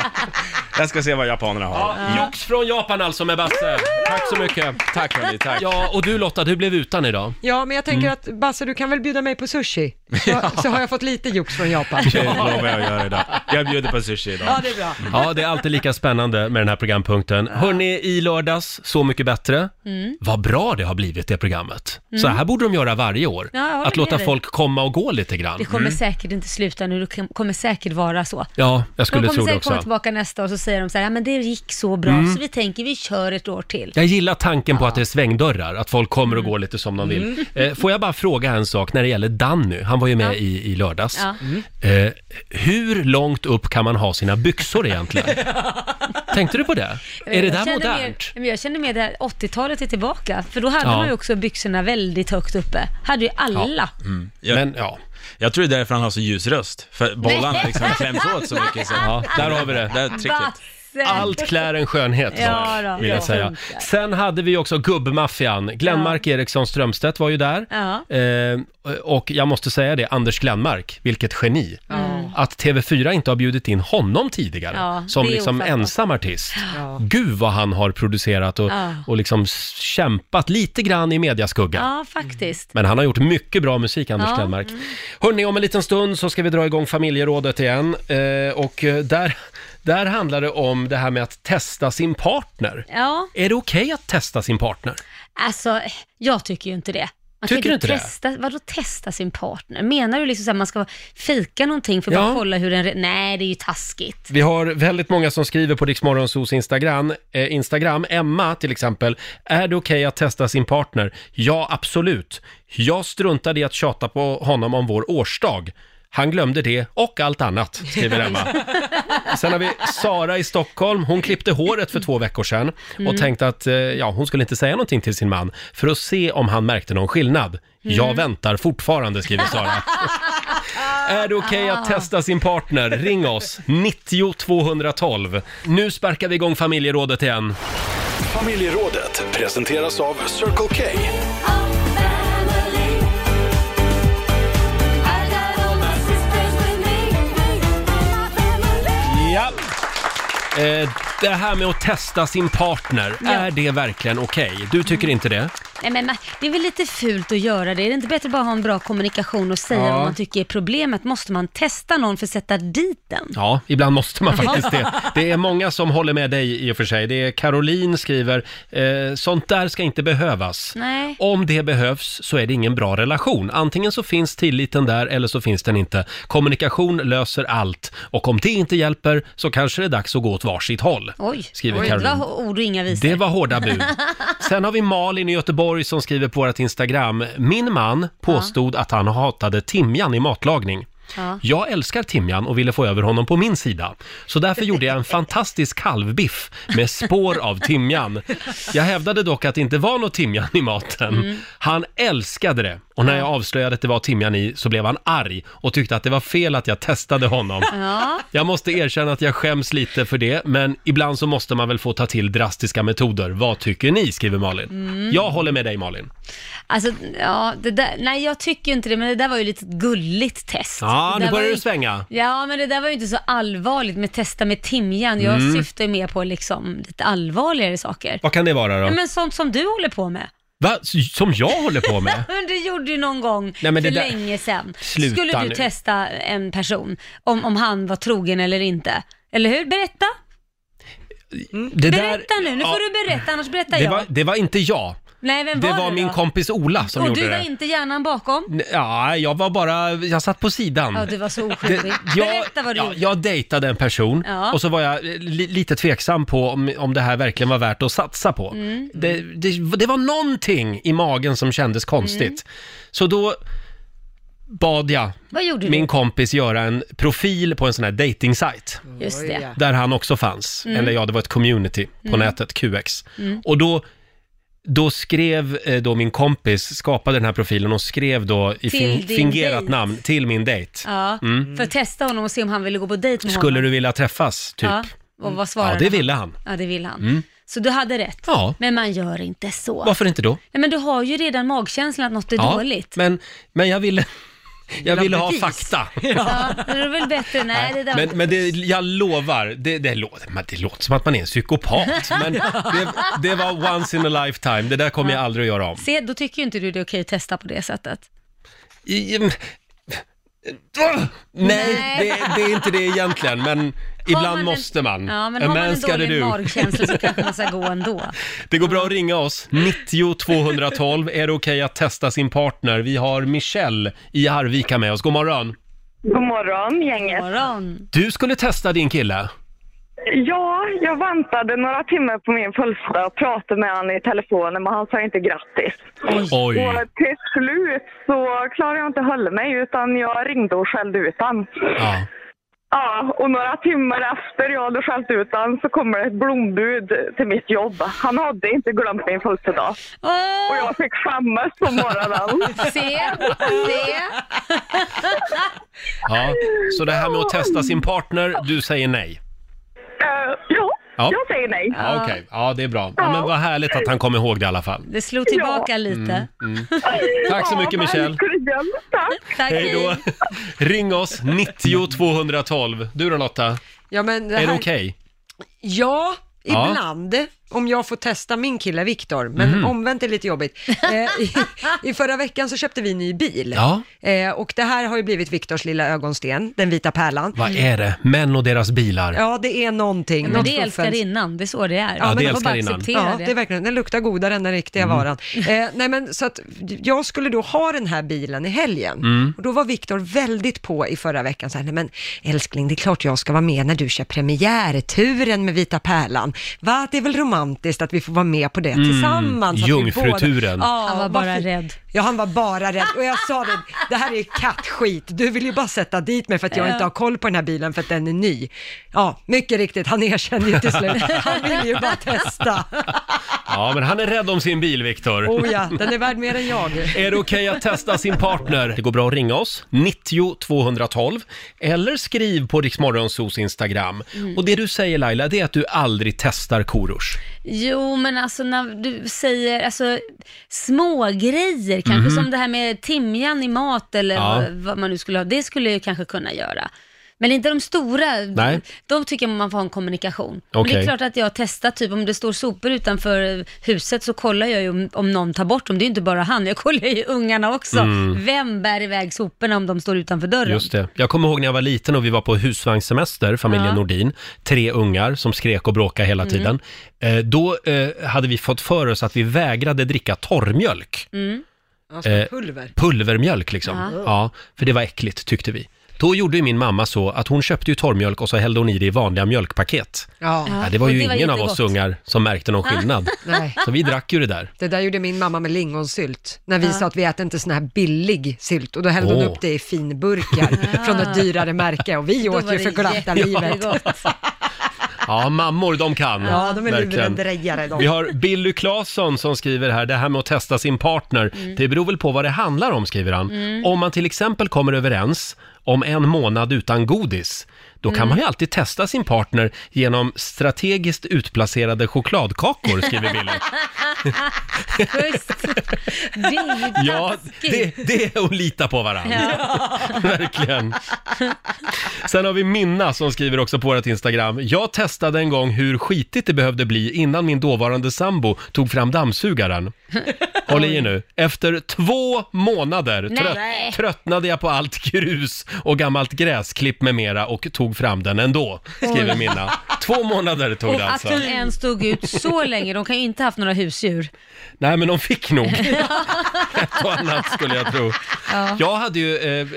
F: Jag ska se vad japanerna har.
A: Ja, jox från Japan alltså med Basse. Tack så mycket.
F: Tack hörni, tack.
A: Ja, och du Lotta, du blev utan idag.
B: Ja, men jag tänker
A: Mm.
B: att Basse, du kan väl bjuda mig på sushi?
A: (laughs)
B: Så, så har jag fått lite jox från Japan.
F: Det lovar jag att göra idag. Jag bjuder på sushi idag.
B: Ja, det är bra.
A: Ja, det är alltid lika spännande med den här programpunkten. Hörni, i lördags, Så mycket bättre.
C: Mm.
A: Vad bra det har blivit det programmet. Så här borde de göra varje år.
C: Ja, jag håller
A: att låta
C: med dig.
A: folk komma och gå lite grann.
C: Det kommer säkert inte sluta nu, det kommer säkert vara så.
A: Ja, jag
C: De
A: skulle
C: kommer
A: tro det
C: säkert komma
A: också. Mm.
C: tillbaka nästa år och så säger de så här, ja men det gick så bra så vi tänker vi kör ett år till.
A: Jag gillar tanken
C: Mm.
A: på att det är svängdörrar, att folk kommer och går lite som de vill. Eh, Får jag bara fråga en sak när det gäller Danny? Han han var ju med i, i lördags.
C: Ja. Mm.
A: Eh, hur långt upp kan man ha sina byxor
C: (laughs)
A: egentligen? Tänkte du på det? Är det
C: Eh, Jag
A: där
C: känner
A: modernt?
C: Mer, men jag känner mer det här 80-talet är tillbaka. För då hade
A: Ja.
C: man ju också byxorna väldigt högt uppe. Hade ju alla.
F: Mm. Jag,
A: Men, ja.
F: jag tror det är därför han har så ljus röst. För bollarna
C: Nej.
F: liksom kläms åt så mycket. Så.
A: Ja, där har vi det.
F: Där är tricket.
C: Vassen.
A: Allt klär en skönhet,
C: Ja
A: dock,
C: då,
A: vill jag
C: det
A: säga.
C: funkar.
A: Sen hade vi ju också gubbmaffian. Glenmark Eriksson Strömstedt var ju där.
C: Ja.
A: Eh, och jag måste säga det, Anders Glenmark, vilket geni. Att TV4 inte har bjudit in honom tidigare,
C: Mm. Ja,
A: som
C: det är
A: liksom
C: ofattbart.
A: ensam artist. Gud vad han har producerat och,
C: Ja.
A: och liksom s- kämpat lite grann i mediaskugga.
C: Ja, faktiskt.
A: Men han har gjort mycket bra musik, Anders
C: Ja. Mm.
A: Glenmark. Hörni, om en liten stund så ska vi dra igång familjerådet igen. Eh, och eh, där, där handlar det om det här med att testa sin partner.
C: Ja,
A: Är det okej att testa sin partner?
C: alltså jag tycker ju inte det. Man
A: Tycker
C: kan
A: du
C: ju
A: inte det?
C: testa, Vadå testa sin partner? Menar du liksom att man ska fejka någonting för att
A: Ja.
C: bara kolla hur den... re- Nej, det är ju taskigt.
A: Vi har väldigt många som skriver på Riksmorgonsos Instagram. Eh, Instagram. Emma till exempel. Är det okej att testa sin partner? Ja, absolut. Jag struntade i att tjata på honom om vår årsdag. Han glömde det och allt annat, skriver Emma. Sen har vi Sara i Stockholm. Hon klippte håret för två veckor sedan och
C: Mm.
A: tänkte att eh, ja, hon skulle inte säga någonting till sin man för att se om han märkte någon skillnad. Jag
C: Mm.
A: väntar fortfarande, skriver Sara. Är det okej att testa sin partner? Ring oss, 90 212. Nu sparkar vi igång familjerådet igen.
I: Familjerådet presenteras av Circle K.
A: Ja. Eh, det här med att testa sin partner,
C: Ja.
A: är det verkligen okej? Du tycker inte det?
C: Nej, men man- det är väl lite fult att göra det. Är det inte bättre att bara ha en bra kommunikation och säga
A: Ja.
C: vad man tycker är problemet? Måste man testa någon för att sätta dit den?
A: Ja, ibland måste
C: (laughs)
A: man
C: Ja.
A: faktiskt det. Det är många som håller med dig i och för sig. Det är Caroline skriver, eh, sånt där ska inte behövas.
C: Nej.
A: Om det behövs så är det ingen bra relation. Antingen så finns tilliten där eller så finns den inte. Kommunikation löser allt och om det inte hjälper så kanske det är dags att gå åt varsitt håll.
C: Oj,
A: Skriver
C: Oj, det
A: Caroline.
C: var ord och inga visor.
A: Det var hårda
C: (laughs)
A: bud. Sen har vi Malin i Göteborg som skriver på vårt Instagram. Min man påstod att han hatade timjan i matlagning.
C: Ja.
A: Jag älskar timjan och ville få över honom på min sida. Så därför gjorde
C: (laughs)
A: jag en fantastisk kalvbiff med spår av timjan. Jag hävdade dock att det inte var något timjan i maten.
E: Mm.
A: Han älskade det och när jag avslöjade att det var timjan i så blev han arg och tyckte att det var fel att jag testade honom.
C: Ja.
A: Jag måste erkänna att jag skäms lite för det, men ibland så måste man väl få ta till drastiska metoder. Vad tycker ni? skriver Malin.
C: Mm.
A: Jag håller med dig Malin.
C: Alltså, ja, det där, nej jag tycker ju inte det, men det där var ju lite ett gulligt test.
A: Ja,
C: Det
A: nu
C: där var
A: börjar
C: ju-
A: du svänga.
C: Ja, men det där var ju inte så allvarligt med testa med timjan. Jag
A: Mm.
C: syftar ju mer på liksom lite allvarligare saker.
A: Vad kan det vara
C: Ja,
A: då?
C: men sånt som du håller på med.
A: Va? Som jag håller på
C: (laughs)
A: med?
C: Men du gjorde ju någon gång
A: Nej, men
C: för
A: det där-
C: länge sedan.
A: Sluta
C: Skulle du
A: nu.
C: testa en person, om, om han var trogen eller inte? Eller hur? Berätta!
A: Det där-
C: berätta nu, nu
A: ja.
C: får du berätta, annars berättar
A: Det
C: jag.
A: var, det var inte jag.
C: Nej, vem
A: Det
C: var
A: var
C: det
A: min
C: då?
A: kompis Ola som
C: Och
A: gjorde
C: du var
A: det.
C: inte hjärnan bakom?
A: N- Ja, jag var bara, jag satt på sidan.
C: Ja, du var så
A: Det-
C: oskyldig.
A: jag, (laughs)
C: Berätta vad du
A: ja,
C: gjorde.
A: jag dejtade en person
C: Ja.
A: och så var jag eh, li, lite tveksam på om, om det här verkligen var värt att satsa på.
C: Mm.
A: Det, det, det var någonting i magen som kändes konstigt.
C: Mm. Mm.
A: Så då bad jag
C: Vad gjorde du?
A: min kompis göra en profil på en sån här dating-sajt.
C: Just det.
A: Där han också fanns.
C: Mm.
A: Eller ja, det var ett community på
C: Mm.
A: nätet, QX.
C: Mm.
A: Och då, då skrev eh, då min kompis, skapade den här profilen och skrev då i
C: Till
A: fin-
C: din
A: fingerat
C: dejt.
A: namn till min dejt.
C: Ja,
A: Mm.
C: för att testa honom och se om han ville gå på dejt med
A: Skulle
C: honom.
A: du vilja träffas, typ? Ja,
C: Ja, och vad svarade
A: det ville han.
C: Ja, det vill han.
A: Mm.
C: Så du hade rätt.
A: Ja.
C: Men man gör inte så.
A: Varför inte då?
C: Nej, men du har ju redan magkänslan att något är
A: ja,
C: dåligt.
A: Men, men jag
C: (laughs)
A: ville, jag ville ha
C: bevis.
A: fakta.
C: Ja, det är väl bättre. (laughs) Nej, det där
A: Men, men det, jag lovar, det, det, låter, men det låter som att man är en
C: (laughs)
A: psykopat. Men det, det var once in a lifetime, det där kommer jag aldrig att göra om.
C: Se, då tycker ju inte du det är okej att testa på det sättet.
A: I,
C: (laughs)
A: mm, Ugh! nej, det, det är inte det egentligen, men ibland
C: man en-
A: måste man.
C: Ja, men
A: A
C: har man
A: man
C: en
A: ska det
C: dålig
A: do.
C: magkänsla så kanske man ska gå ändå.
A: Det går bra att ringa oss, 90 212. Är det okej att testa sin partner? Vi har Michelle i Arvika med oss. God morgon.
J: God morgon gänget.
C: God morgon.
A: Du skulle testa din kille.
J: Ja, jag väntade några timmar på min födelsedag och pratade med honom i telefonen men han sa inte grattis.
A: Oj.
J: Och till slut så klarade jag inte att hålla mig utan jag ringde och skällde ut honom.
A: Ja.
J: Ja, och några timmar efter jag hade skällt ut honom så kommer det ett blombud till mitt jobb. Han hade inte glömt min födelsedag. Och jag fick skämmas på
A: (laughs)
J: morgonen.
C: Se, se.
A: Ja, så det här med att testa sin partner, du säger nej?
J: Eh, ja,
A: Ja.
J: jag säger nej.
A: Ja, Okej, ja det är bra. Ja, men vad härligt att han kom ihåg det i alla fall.
C: Det slog tillbaka lite.
A: Mm. Tack så mycket,
J: Ja,
A: Michelle.
J: verkligen. Tack.
C: Tack,
A: Hej då! Ring oss, 90 212. Du då Lotta,
B: Ja, men det
A: är det
B: här-
A: okej?
B: Ja,
A: Ja.
B: ibland. Om jag får testa min kille Viktor, men
A: Mhm.
B: omvänt är lite jobbigt.
A: (laughs)
B: Eh, i, I förra veckan så köpte vi en ny bil.
A: Ja.
B: Eh, och det här har ju blivit Viktors lilla ögonsten, den vita pärlan.
A: Vad är det? Män och deras bilar.
B: Ja, det är någonting.
C: Men
B: något
C: det är
B: fuffens.
C: älskarinnan, det är så det är.
B: Ja,
C: Man
A: det är
C: får bara
A: älskarinnan.
C: acceptera
B: Mm. Ja, det är verkligen, den luktar godare än den riktiga varan. Eh, nej men så att jag skulle då ha den här bilen i helgen
K: Mm.
B: och då var Viktor väldigt på i förra veckan så här, nej men älskling det är klart jag ska vara med när du kör premiärturen med Vita Pärlan. Va, det är väl romantiskt att vi får vara med på det
A: Mm,
B: tillsammans. Alltså att vi båda-"
A: jungfruturen.
B: Ja,
C: Han var bara
B: varför-
C: rädd.
B: Ja, han var bara rädd. Och jag sa det, det här är kattskit. Du vill ju bara sätta dit mig för att jag
C: Ja.
B: inte har koll på den här bilen för att den är ny. Ja, mycket riktigt, han erkände ju till
C: (laughs)
B: slut. Han ville ju bara testa.
A: Ja, men han är rädd om sin bil, Viktor.
B: Oh ja, den är värd mer än jag.
A: Är det okej att testa sin partner? Det går bra att ringa oss, 90 212, eller skriv på Riksmorgonsos Instagram.
C: Mm.
A: Och det du säger Laila, det är att du aldrig testar Korosh.
C: Jo, men alltså när du säger alltså, små grejer kanske
A: Mhm.
C: som det här med timjan i mat eller
A: Ja.
C: vad, vad man nu skulle ha, det skulle jag kanske kunna göra. Men inte de stora,
A: Nej.
C: de tycker jag man får ha en kommunikation. Men det
A: Okej.
C: är klart att jag testar, typ om det står sopor utanför huset så kollar jag ju om, om någon tar bort dem. Det är ju inte bara han, jag kollar ju ungarna också.
A: Mm.
C: Vem bär iväg soporna om de står utanför dörren?
A: Just det. Jag kommer ihåg när jag var liten och vi var på husvagnssemester, familjen
C: Ja.
A: Nordin. Tre ungar som skrek och bråkade hela
C: Mm.
A: tiden. Eh, då eh, hade vi fått för oss att vi vägrade dricka torrmjölk.
C: Mm.
A: Eh, Pulvermjölk liksom.
C: Ja.
A: Ja. för det var äckligt tyckte vi. Då gjorde ju min mamma så att hon köpte ju torrmjölk och så hällde hon i det i vanliga mjölkpaket.
B: Ja.
A: Ja, det var
B: och
A: ju
B: det var Ah.
A: ingen av
B: inte
A: oss
B: gott.
A: ungar som märkte någon skillnad.
B: Nej.
A: Så vi drack ju det där.
B: Det där gjorde min mamma med lingonsylt, när vi sa att vi äter inte sån här billig sylt och då hällde hon
A: Åh.
B: upp det i finburkar från ett dyrare märke och vi
C: Då
B: åt
C: var
B: ju
C: det
B: för glatta livet.
C: jättegott. (laughs)
A: Ja, mammor de kan.
B: Ja, de är
A: Verkligen.
B: lurendrejare de.
A: Vi har Billy Claesson som skriver här, det här med att testa sin partner,
B: Mm.
A: det beror väl på vad det handlar om, skriver han.
C: Mm.
A: Om man till exempel kommer överens om en månad utan godis, då kan
C: Mm.
A: man ju alltid testa sin partner genom strategiskt utplacerade chokladkakor, skriver
B: (laughs)
A: Billy.
C: Just. Det är ju
A: Ja, det, det är att lita på varandra. (laughs) Verkligen. Sen har vi Minna som skriver också på vårt Instagram. Jag testade en gång hur skitigt det behövde bli innan min dåvarande sambo tog fram dammsugaren. Håll i er nu. Efter två månader
C: Nej.
A: trött,
C: Nej.
A: tröttnade jag på allt grus och gammalt gräsklipp med mera och tog fram den ändå, skriver
C: Oj.
A: Minna. Två månader tog
C: Och
A: det alltså.
C: att hon ens stod ut så länge, de kan ju inte haft några husdjur.
A: Nej, men de fick
C: (laughs)
A: nog (laughs) ett och annat skulle jag tro.
C: Ja.
A: Jag hade, ju, eh,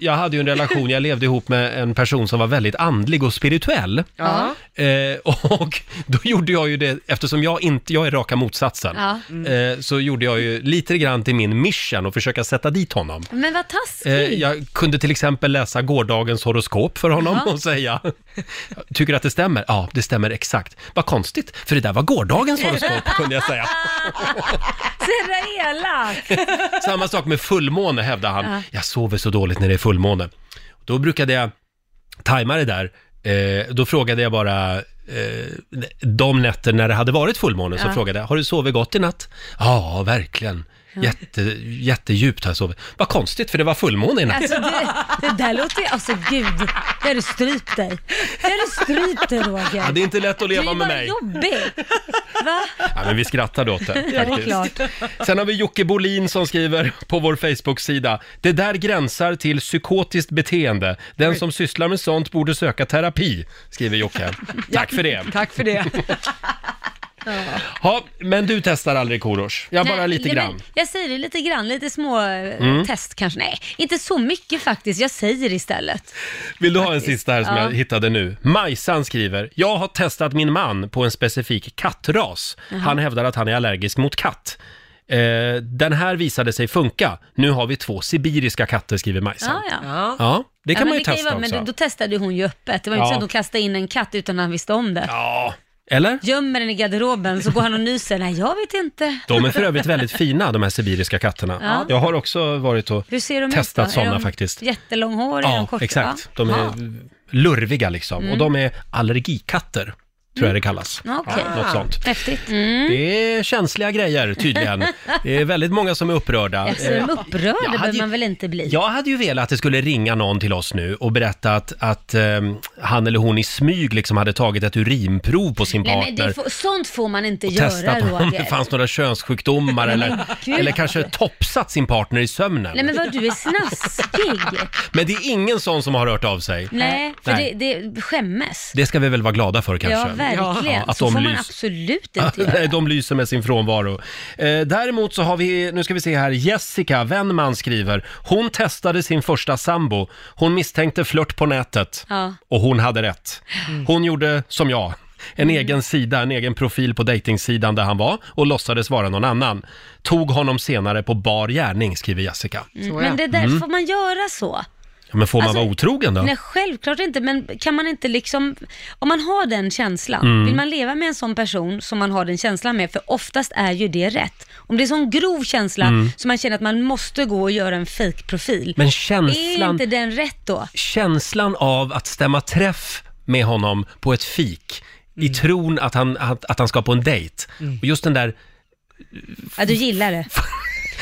A: jag hade ju en relation, jag levde ihop med en person som var väldigt andlig och spirituell.
C: Ja.
A: Eh, och då gjorde jag ju det, eftersom jag inte, jag är raka motsatsen,
C: Ja.
A: eh, så gjorde jag ju lite grann till min mission att försöka sätta dit honom.
C: Men vad
A: Eh,
C: taskigt.
A: jag kunde till exempel läsa gårdagens horoskop för honom
C: Ja.
A: och säga, tycker du att det stämmer? Ja, det stämmer exakt. Vad konstigt, för det där var gårdagens horoskop, kunde jag säga.
C: Så jävla elakt.
A: Samma sak med fullmåne hävdar han.
C: Ja.
A: Jag sover så dåligt när det är fullmåne. Då brukade jag tajma det där. Eh, då frågade jag bara eh, de nätter när det hade varit fullmåne så
I: Ja.
A: frågade jag, har du sovit gott i natt? Ja, verkligen.
C: Ja.
A: Jätte, jättedjupt har jag sovit. Vad konstigt för det var fullmåne i natt.
C: Alltså det, det där låter ju, alltså gud, det du strypt dig. Det du strypt dig Roger.
A: Ja, det är inte lätt att leva med mig.
C: jobbigt. Va?
A: Ja, men vi skrattade åt det
C: (laughs) Ja, det är
A: faktiskt.
C: klart.
A: Sen har vi Jocke Bolin som skriver på vår Facebook-sida. Det där gränsar till psykotiskt beteende. Den som sysslar med
C: (laughs)
A: sånt borde söka terapi, skriver Jocke. Tack för det.
B: Tack för det.
A: Ja, men du testar aldrig Korosh? Ja, bara
C: Nej,
A: lite
C: nej,
A: grann.
C: men Jag säger det lite grann, lite små eh,
A: Mm.
C: test kanske. Nej, inte så mycket faktiskt. Jag säger istället.
A: Vill du ha en sista här som
C: Ja.
A: jag hittade nu? Majsan skriver, jag har testat min man på en specifik kattras.
C: Jaha.
A: Han hävdar att han är allergisk mot katt. Eh, den här visade sig funka. Nu har vi två sibiriska katter, skriver Majsan.
C: Ah, Ja, ja. ja.
A: Ja, det kan
C: men
A: man ju
C: kan
A: testa
C: vara- Men
A: också.
C: då, då testade ju hon ju öppet. Det var ju inte
A: Ja.
C: så att hon kastade in en katt utan att han visste om det.
A: Ja. Eller?
C: Gömmer den i garderoben, så går han och nyser. Nej, jag vet inte.
A: De är för övrigt väldigt fina, de här sibiriska katterna.
C: Ja.
A: Jag har också varit och
C: Hur ser de ut,
A: testat
C: då?
A: sådana
C: är de
A: faktiskt.
C: Jättelånghåriga?
A: Ja,
C: korta?
A: exakt. De
C: Ja.
A: är lurviga liksom.
C: Mm.
A: Och de är allergikatter, tror jag det kallas.
C: Ja, Okej.
A: Ja, något sånt.
C: Häftigt. Mm.
A: Det är känsliga grejer
C: (laughs)
A: tydligen. Det är väldigt många som är upprörda.
C: Alltså, de
A: Eh,
C: upprörda
A: jag hade
C: behöver
A: ju-
C: man väl inte bli?
A: Jag hade ju velat att det skulle ringa någon till oss nu och berätta att, att ehm, han eller hon i smyg liksom hade tagit ett urinprov på sin
C: Nej, men
A: partner.
C: det får, sånt får man inte
A: och
C: göra,
A: testat om (laughs)
C: Roger.
A: det fanns några könssjukdomar
C: (laughs) Nej,
A: eller,
C: men gud.
A: eller kanske topsat sin partner i sömnen.
C: Nej, men vad du är snaskig.
A: (laughs) Men det är ingen sån som har hört av sig.
C: Nej, för
A: Nej.
C: Det, det skämmes.
A: Det ska vi väl vara glada för kanske?
C: Ja, verkligen.
A: Ja, att
C: så
A: de
C: får man
A: lys-
C: absolut inte
A: (laughs)
C: göra.
A: Nej, de lyser med sin frånvaro. Eh, däremot så har vi, nu ska vi se här, Jessica Wennman skriver, hon testade sin första sambo, hon misstänkte flört på nätet
C: Ja. Mm.
A: och hon hade rätt. Hon gjorde som jag. En egen sida, en egen profil på dejtingsidan där han var och låtsades vara någon annan. Tog honom senare på bar gärning, skriver Jessica.
C: Mm, Men det där,
A: Mm.
C: får man göra så?
A: Ja, Men får man
C: Alltså,
A: vara otrogen då?
C: Nej, självklart inte, men kan man inte liksom, om man har den känslan,
A: Mm.
C: vill man leva med en sån person som man har den känslan med, för oftast är ju det rätt. Om det är sån grov känsla
A: Mm.
C: så man känner att man måste gå och göra en fake-profil,
A: Men känslan-
C: är inte den rätt då?
A: känslan av att stämma träff med honom på ett fik
C: Mm.
A: i tron att han, att, att han ska på en dejt. Och just den där,
C: Ja, du gillar det.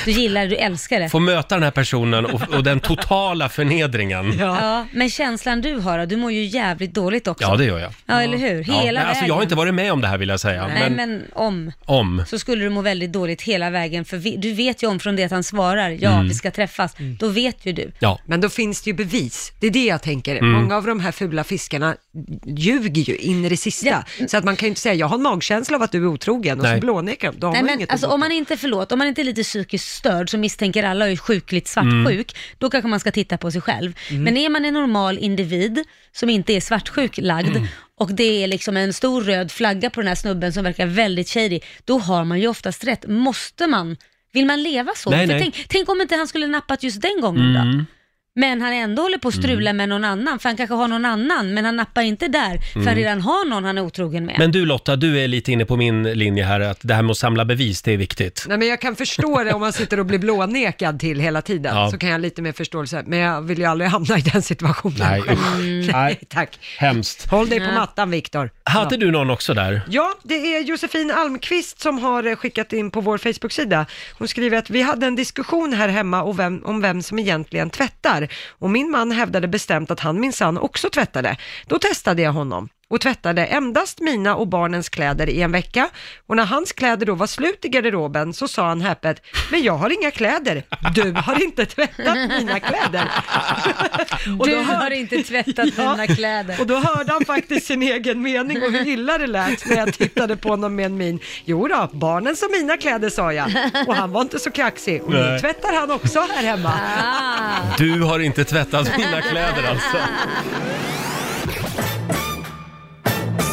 C: Du gillar det, du älskar det.
A: få möta den här personen och, och den totala förnedringen.
C: Ja. men känslan du har, då, du mår ju jävligt dåligt också.
A: Ja, det gör jag.
C: Ja, eller hur?
A: Ja.
C: Hela
A: Nej,
C: vägen.
A: alltså, jag har inte varit med om det här vill jag säga.
C: Nej,
A: men,
C: men, om.
A: Om.
C: Så skulle du må väldigt dåligt hela vägen, för vi, du vet ju om från det att han svarar, ja,
B: Mm.
C: vi ska träffas, då vet ju du.
A: Ja.
B: Men då finns det ju bevis. Det är det jag tänker.
C: Mm.
B: Många av de här fula fiskarna ljuger ju in i det sista. Så att man kan ju inte säga, jag har en magkänsla av att du är otrogen och så
C: Nej.
B: blånekar de. Då har
C: Nej,
B: man
C: men
B: inget
C: alltså,
B: emot
C: om man inte, förlåt, om man inte är lite psykiskt störd så misstänker alla och är sjukligt svartsjuk,
B: Mm.
C: då kanske man ska titta på sig själv.
B: Mm.
C: Men är man en normal individ som inte är svartsjuk lagd
B: Mm.
C: och det är liksom en stor röd flagga på den här snubben som verkar väldigt shady, då har man ju oftast rätt. Måste man? Vill man leva så?
A: Nej,
C: För
A: nej.
C: Tänk, tänk om inte han skulle nappat just den gången då?
A: Mm.
C: Men han ändå håller på att strula
B: Mm.
C: med någon annan, för han kanske har någon annan, men han nappar inte där, för
A: Mm.
C: han redan har någon han är otrogen med.
A: men du Lotta, du är lite inne på min linje här, att det här med att samla bevis, det är viktigt.
B: Nej, men jag kan förstå det om man sitter och blir blånekad till hela tiden.
A: Ja.
B: Så kan jag lite mer förståelse. Men jag vill ju aldrig hamna i den situationen. (laughs)
A: Nej, usch. Nej,
B: tack.
A: Hemskt.
B: Håll dig på mattan, Viktor.
A: Hade
B: Ja.
A: du någon också där?
B: Ja, det är Josefin Almqvist som har eh, skickat in på vår Facebook-sida. Hon skriver att vi hade en diskussion här hemma och vem, om vem som egentligen tvättar. Och min man hävdade bestämt att han minsann också tvättade. Då testade jag honom och tvättade endast mina och barnens kläder i en vecka. Och när hans kläder då var slut i garderoben så sa han häpet, men jag har inga kläder. Du har inte tvättat mina
C: (laughs)
B: kläder. Och
C: Du
B: då hör-
C: har
B: (laughs)
C: inte tvättat mina kläder.
B: Och då hörde han faktiskt sin egen mening och hur illa det lät när jag tittade på honom med en min. Jo då, barnen som mina kläder sa jag. Och han var inte så kaxig. Och nu
A: Nej.
B: tvättar han också här hemma.
A: Du har inte tvättat mina kläder alltså.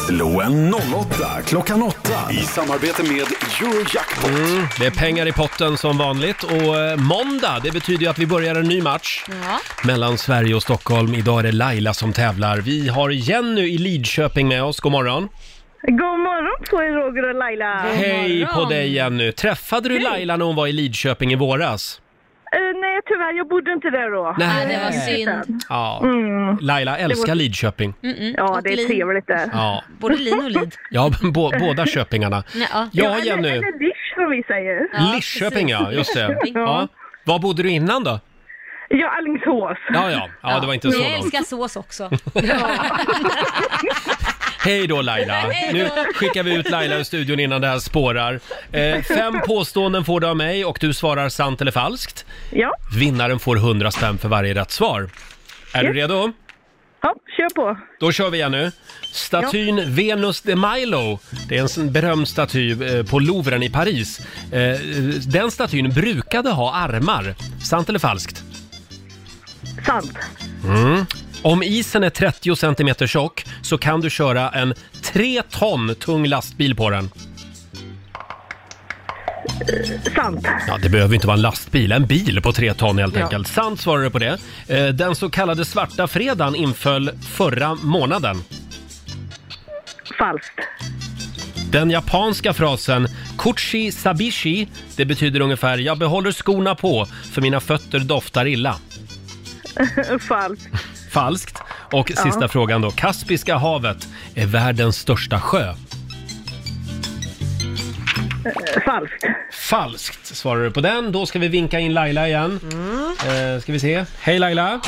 D: Slå en 08 klockan 8
I: I samarbete med Eurojackpot.
A: Mm, det är pengar i potten som vanligt och eh, måndag, det betyder ju att vi börjar en ny match
C: Ja.
A: mellan Sverige och Stockholm. Idag är det Laila som tävlar. Vi har Jenny i Lidköping med oss. God morgon.
K: God morgon på er Roger och Laila.
A: Hej på dig Jenny. Träffade du Laila när hon var i Lidköping i våras?
K: Eh, nej tyvärr, jag bodde inte där då.
A: Nej.
C: det var synd. Mm.
A: Ja.
K: Mm.
A: Laila
K: Det
A: älskar
K: var-
A: Lidköping.
K: Ja,
C: Och
K: det är
C: lin.
K: trevligt där.
A: Ja,
C: Både lin och lid.
A: ja (laughs) bå- båda köpingarna.
C: Ja,
A: Ja,
K: eller,
A: Jenny.
K: Eller dish som vi säger.
A: Lidköping ja, just det. Ja.
K: Ja,
A: Var bodde du innan då?
K: ja Alingsås.
A: Ja, ja. Ja, det var inte så
C: Jag
A: långt.
C: älskar sås också.
A: Hej då Laila!
C: (laughs) Hej då.
A: Nu skickar vi ut Laila ur studion innan det här spårar. Eh, fem påståenden får du av mig och du svarar sant eller falskt.
K: Ja.
C: Mm.
A: Vinnaren får 100 spänn för varje rätt svar. Är du
K: Yes.
A: redo?
K: Ja, kör på.
A: Då kör vi igen nu. Statyn Venus de Milo. Det är en sån berömd staty eh, på Louvren i Paris. Eh, Den statyn brukade ha armar. Sant eller falskt?
K: Sant.
A: Mm. Om isen är 30 centimeter tjock så kan du köra en 3 ton tung lastbil på den.
K: Sant.
A: Ja, det behöver inte vara en lastbil, en bil på 3 ton helt
K: Ja.
A: enkelt. Sant svarar du på det. Eh, Den så kallade svarta fredagen inföll förra månaden.
K: Falskt.
A: Den japanska frasen Kuchi sabishi, det betyder ungefär jag behåller skorna på för mina fötter doftar illa.
K: Falskt.
A: Falskt. Och
K: Ja.
A: sista frågan då. Kaspiska havet är världens största sjö.
K: Eh, Falskt.
A: Falskt svarar du på den. Då ska vi vinka in Laila igen.
K: Mm.
A: Eh, ska vi se. Hej Laila!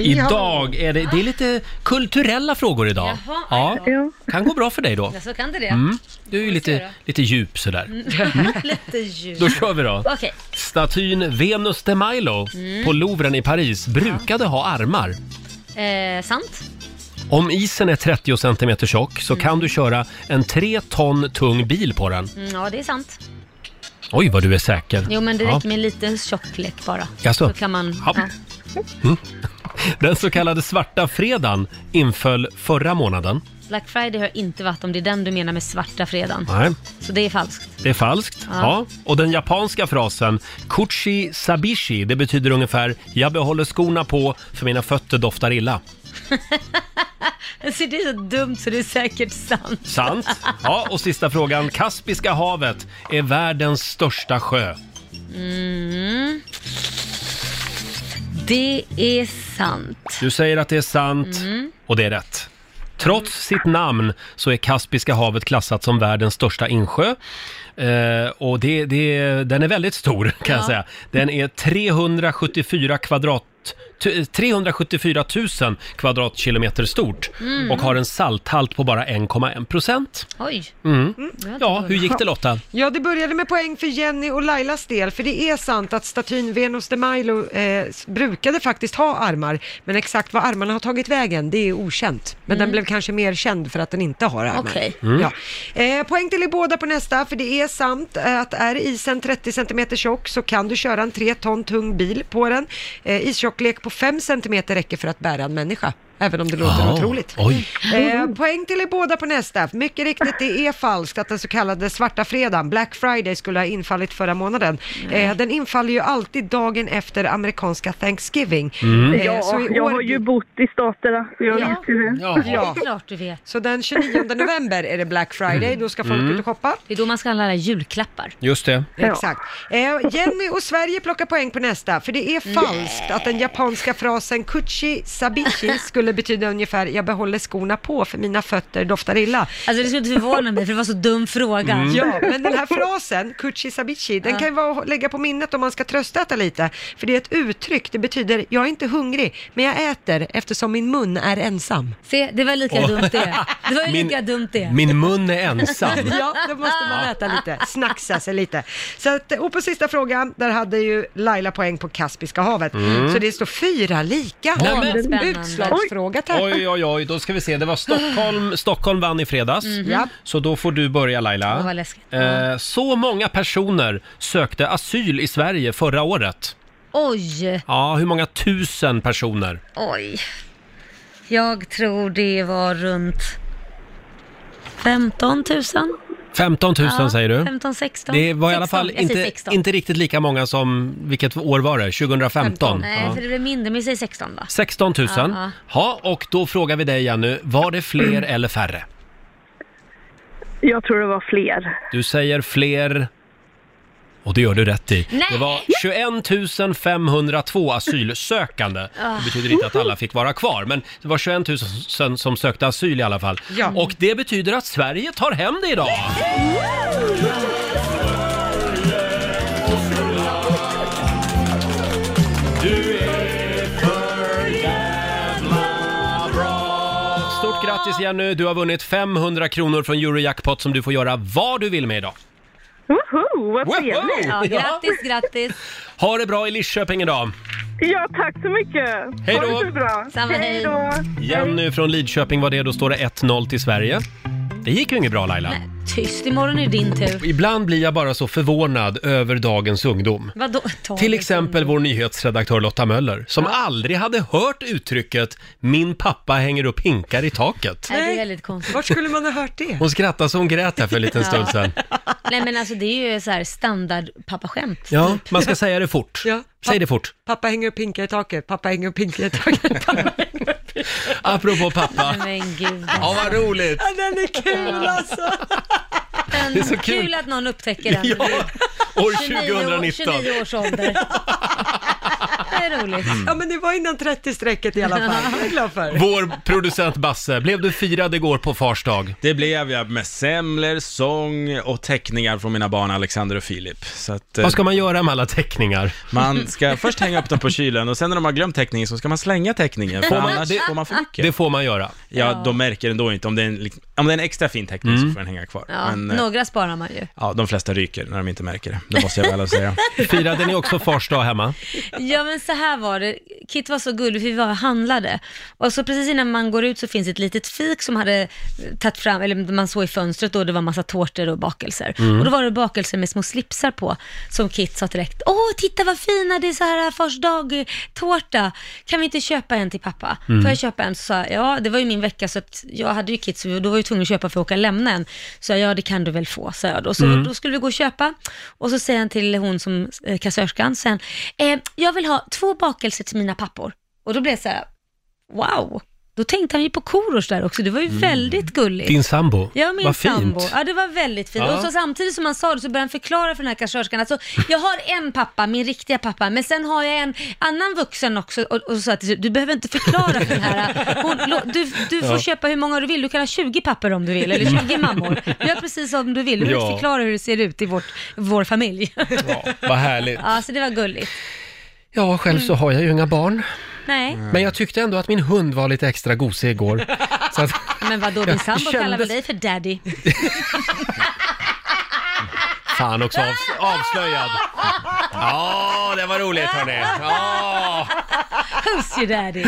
A: Idag är det, det är lite kulturella frågor idag.
C: Jaha, aj då.
A: ja, kan gå bra för dig då.
C: Ja, så kan det det.
A: Mm. Du är ju
C: se
A: lite,
C: då.
A: lite djup sådär.
C: Mm. (laughs) Lite ljud.
A: Då kör vi då.
C: Okej.
A: Statyn Venus de Milo
C: Mm.
A: på Louvren i Paris brukade ha armar.
C: Eh, sant.
A: Om isen är 30 centimeter tjock så kan du köra en 3 ton tung bil på den.
C: Mm, ja, det är sant.
A: Oj, vad du är säker.
C: Jo, men det
A: Ja.
C: räcker med en liten tjocklek bara.
A: Jaså?
C: Så kan man...
A: Ja.
C: Ja.
A: Mm. Den så kallade svarta fredagen inföll förra månaden.
C: Black Friday har inte varit om det är den du menar med svarta fredagen.
A: Nej,
C: Så det är falskt.
A: det är falskt. Ja.
C: Ja.
A: Och den japanska frasen kuchi sabishi, det betyder ungefär jag behåller skorna på för mina fötter doftar illa.
C: Så det är så dumt så det är säkert sant.
A: Sant. Ja, och sista frågan. Kaspiska havet är världens största sjö.
C: Mm. Det är sant.
A: Du säger att det är sant
C: Mm.
A: och det är rätt. Trots sitt namn så är Kaspiska havet klassat som världens största insjö. Eh, och det, det, den är väldigt stor kan jag
E: Ja.
A: säga. Den är 374 kvadrat tu- 374 000 kvadratkilometer stort
C: Mm.
A: och har en salthalt på bara 1,1 procent.
C: Oj.
A: Mm.
B: Ja,
A: Hur gick det Lotta?
B: Ja, det började med poäng för Jenny och Lailas del, för det är sant att statyn Venus de Milo eh, s- brukade faktiskt ha armar, men exakt var armarna har tagit vägen, det är okänt. Men den blev kanske mer känd för att den inte har armar.
C: Okej.
E: Mm.
B: Ja. Eh, poäng till er båda på nästa, för det är sant eh, att är isen 30 cm tjock så kan du köra en 3 ton tung bil på den. Eh, istjocklek på 5 cm räcker för att bära en människa. Även om det låter
E: Ja,
B: otroligt.
E: oj.
B: Eh, poäng till er båda på nästa. Mycket riktigt, det är falskt att den så kallade svarta fredagen, Black Friday, skulle ha infallit förra månaden. Eh, den infaller ju alltid dagen efter amerikanska Thanksgiving. Eh,
E: Mm.
K: Ja, jag har ju bott i staterna, så jag vet ju det.
B: Ja.
C: Det är klart du vet.
B: Så den 29
K: (laughs)
B: november är det Black Friday, då ska folk
A: Mm.
B: ut och shoppa.
C: Det är då man ska handla julklappar.
A: Just det.
B: Exakt. Eh, Jenny och Sverige plockar poäng på nästa, för det är falskt att den japanska frasen kuchi sabichi skulle betyda ungefär jag behåller skorna på för mina fötter doftar illa.
C: Alltså det skulle inte förvåna mig för det var så dum fråga.
B: Mm. Ja, men den här frasen, kuchi sabichi, den kan ju vara att lägga på minnet om man ska tröstäta lite. För det är ett uttryck, det betyder jag är inte hungrig, men jag äter eftersom min mun är ensam.
C: Se, det var lika
A: Åh.
C: dumt det. Det var ju
A: Min-
C: lika dumt det.
A: Min mun är ensam.
B: ja, (laughs) då måste man äta lite, snacksa sig lite. Så att, och på sista frågan, där hade ju Laila poäng på Kaspiska havet.
A: Mm.
B: Så det står fyra lika.
A: Nej, men- Spännande.
B: Utslagsfråga tack.
A: Oj, oj, oj, då ska vi se. Det var Stockholm, Stockholm vann i fredags.
B: Mhm. Ja.
A: Så då får du börja Laila.
C: Det var läskigt.
A: Eh, så många personer sökte asyl i Sverige förra året.
C: Oj,
A: Ja, hur många tusen personer?
C: oj. Jag tror det var runt 15 000.
A: 15 000
C: Ja,
A: säger du?
C: 15 16.
A: Det var i alla
C: 16.
A: fall
C: Jag säger
A: inte,
C: 16.
A: inte riktigt lika många som, vilket år var det? 2015?
C: Nej,
A: Ja.
C: för det blev mindre, men vi säger 16 va?
A: 16 000.
C: Ja.
A: Ja, och då frågar vi dig Jenny, var det
C: (clears throat)
A: fler eller färre?
K: Jag tror det var fler.
A: Du säger fler... Och det gör du rätt i.
K: Nej!
A: Det var 21 502 asylsökande. Det betyder inte att alla fick vara kvar, men det var 21 000 som sökte asyl i alla fall.
E: Ja.
A: Och det betyder att Sverige tar hem det idag!
E: Du är för jävla bra.
A: Stort grattis Jenny, du har vunnit 500 kronor från Eurojackpot som du får göra vad du vill med idag.
K: Woho, vad trevligt!
C: Ja, grattis, grattis.
A: Ha det bra i Lidköping idag!
K: Ja, tack så mycket.
A: Hej då.
K: Ha det så bra.
C: Samma, hej.
K: hej då.
A: Jenny från Lidköping var det, då står det 1-0 till Sverige. Det gick ju inget bra Laila.
C: Tyst, imorgon är det din tur.
A: Ibland blir jag bara så förvånad över dagens ungdom.
C: Vadå? Ta
A: Till
C: det.
A: exempel vår nyhetsredaktör Lotta Möller, som aldrig hade hört uttrycket “min pappa hänger upp hinkar i taket”.
C: Nej, det är väldigt konstigt.
B: Vart skulle man ha hört det?
A: Hon skrattade så hon grät här för en liten
C: (laughs) Ja.
A: stund sedan.
C: Nej men alltså det är ju så här standard pappaskämt.
A: Ja, man ska säga det fort.
B: Ja.
A: Säg det fort.
B: Pappa hänger upp hinkar i taket, pappa hänger upp hinkar i taket.
A: Apropå pappa.
C: Nej, men gud.
A: Ja, vad roligt!
B: (laughs) Ja, den är kul alltså.
A: (laughs)
C: Men
A: Det är så kul.
C: kul. att någon upptäcker den.
A: Ja, år
C: 29 år- 29 års
F: (laughs)
C: ålder. Det är roligt.
F: Mm.
B: Ja, men det var innan 30-strecket i alla fall. Jag är glad för.
A: Vår producent Basse, blev du firad igår på fars dag?
F: Det blev jag med semlor, sång och teckningar från mina barn Alexander och Filip. Så att, eh,
A: Vad ska man göra med alla teckningar?
F: man ska först hänga upp dem på kylen och sen när de har glömt teckningen så ska man slänga teckningen, för
A: Får man-
F: annars
A: det-
F: får man för mycket.
A: Det Mm. får man göra.
F: Ja, de märker ändå inte. Om det är en, liksom- om det är en extra fin teckning så får den hänga kvar.
C: Ja,
F: Men, eh,
C: några sparar man ju.
F: ja, de flesta ryker när de inte märker det. Det måste jag väl säga.
A: Firade ni också fars dag hemma?
C: Ja men så här var det, Kit var så gullig för vi var och handlade. Och så precis innan man går ut så finns ett litet fik som hade tagit fram, eller man såg i fönstret då, det var massa tårtor och bakelser.
L: Mm.
C: Och då var det bakelser med små slipsar på, som Kit sa direkt, åh titta vad fina, det är så här fars dag-tårta, kan vi inte köpa en till pappa?
L: Mm.
C: Får jag köpa en? Så sa jag, ja det var ju min vecka så att jag hade ju Kit, så då var jag tvungen att köpa för att åka och lämna en. Så jag, ja det kan du väl få, sa jag då. Så
L: Mm.
C: då skulle vi gå och köpa och så säger han till hon som eh, kassörskan sen, eh, jag vill ha två bakelser till mina pappor. Och då blev jag så här, wow. Då tänkte han ju på Korosh där också, det var ju
L: Mm.
C: väldigt gulligt.
A: Din sambo?
C: Ja, min
A: Vad
C: sambo.
A: fint.
C: Ja, det var väldigt fint.
A: Ja.
C: Och så samtidigt som han sa det så började han förklara för den här kassörskan, alltså jag har en pappa, min riktiga pappa, men sen har jag en annan vuxen också och, och så sa jag till slut, du behöver inte förklara för den här, hon, lo- du, du får
L: Ja.
C: köpa hur många du vill, du kan ha 20 papper om du vill, eller 20 mammor. Gör precis som du vill, du behöver
A: Mm. Ja.
C: inte förklara hur det ser ut i vårt, vår familj.
A: Vad härligt.
C: Ja, så det var gulligt.
A: Ja, själv så har jag ju inga barn.
C: Nej,
A: Men jag tyckte ändå att min hund var lite extra gosig igår. Så att,
C: men vadå, din
A: Jag
C: sambo kallar
A: kändes-
C: väl dig för daddy?
A: (laughs) fan också av, avslöjad. Ja, det var roligt hörni. Ja.
C: Who's your daddy?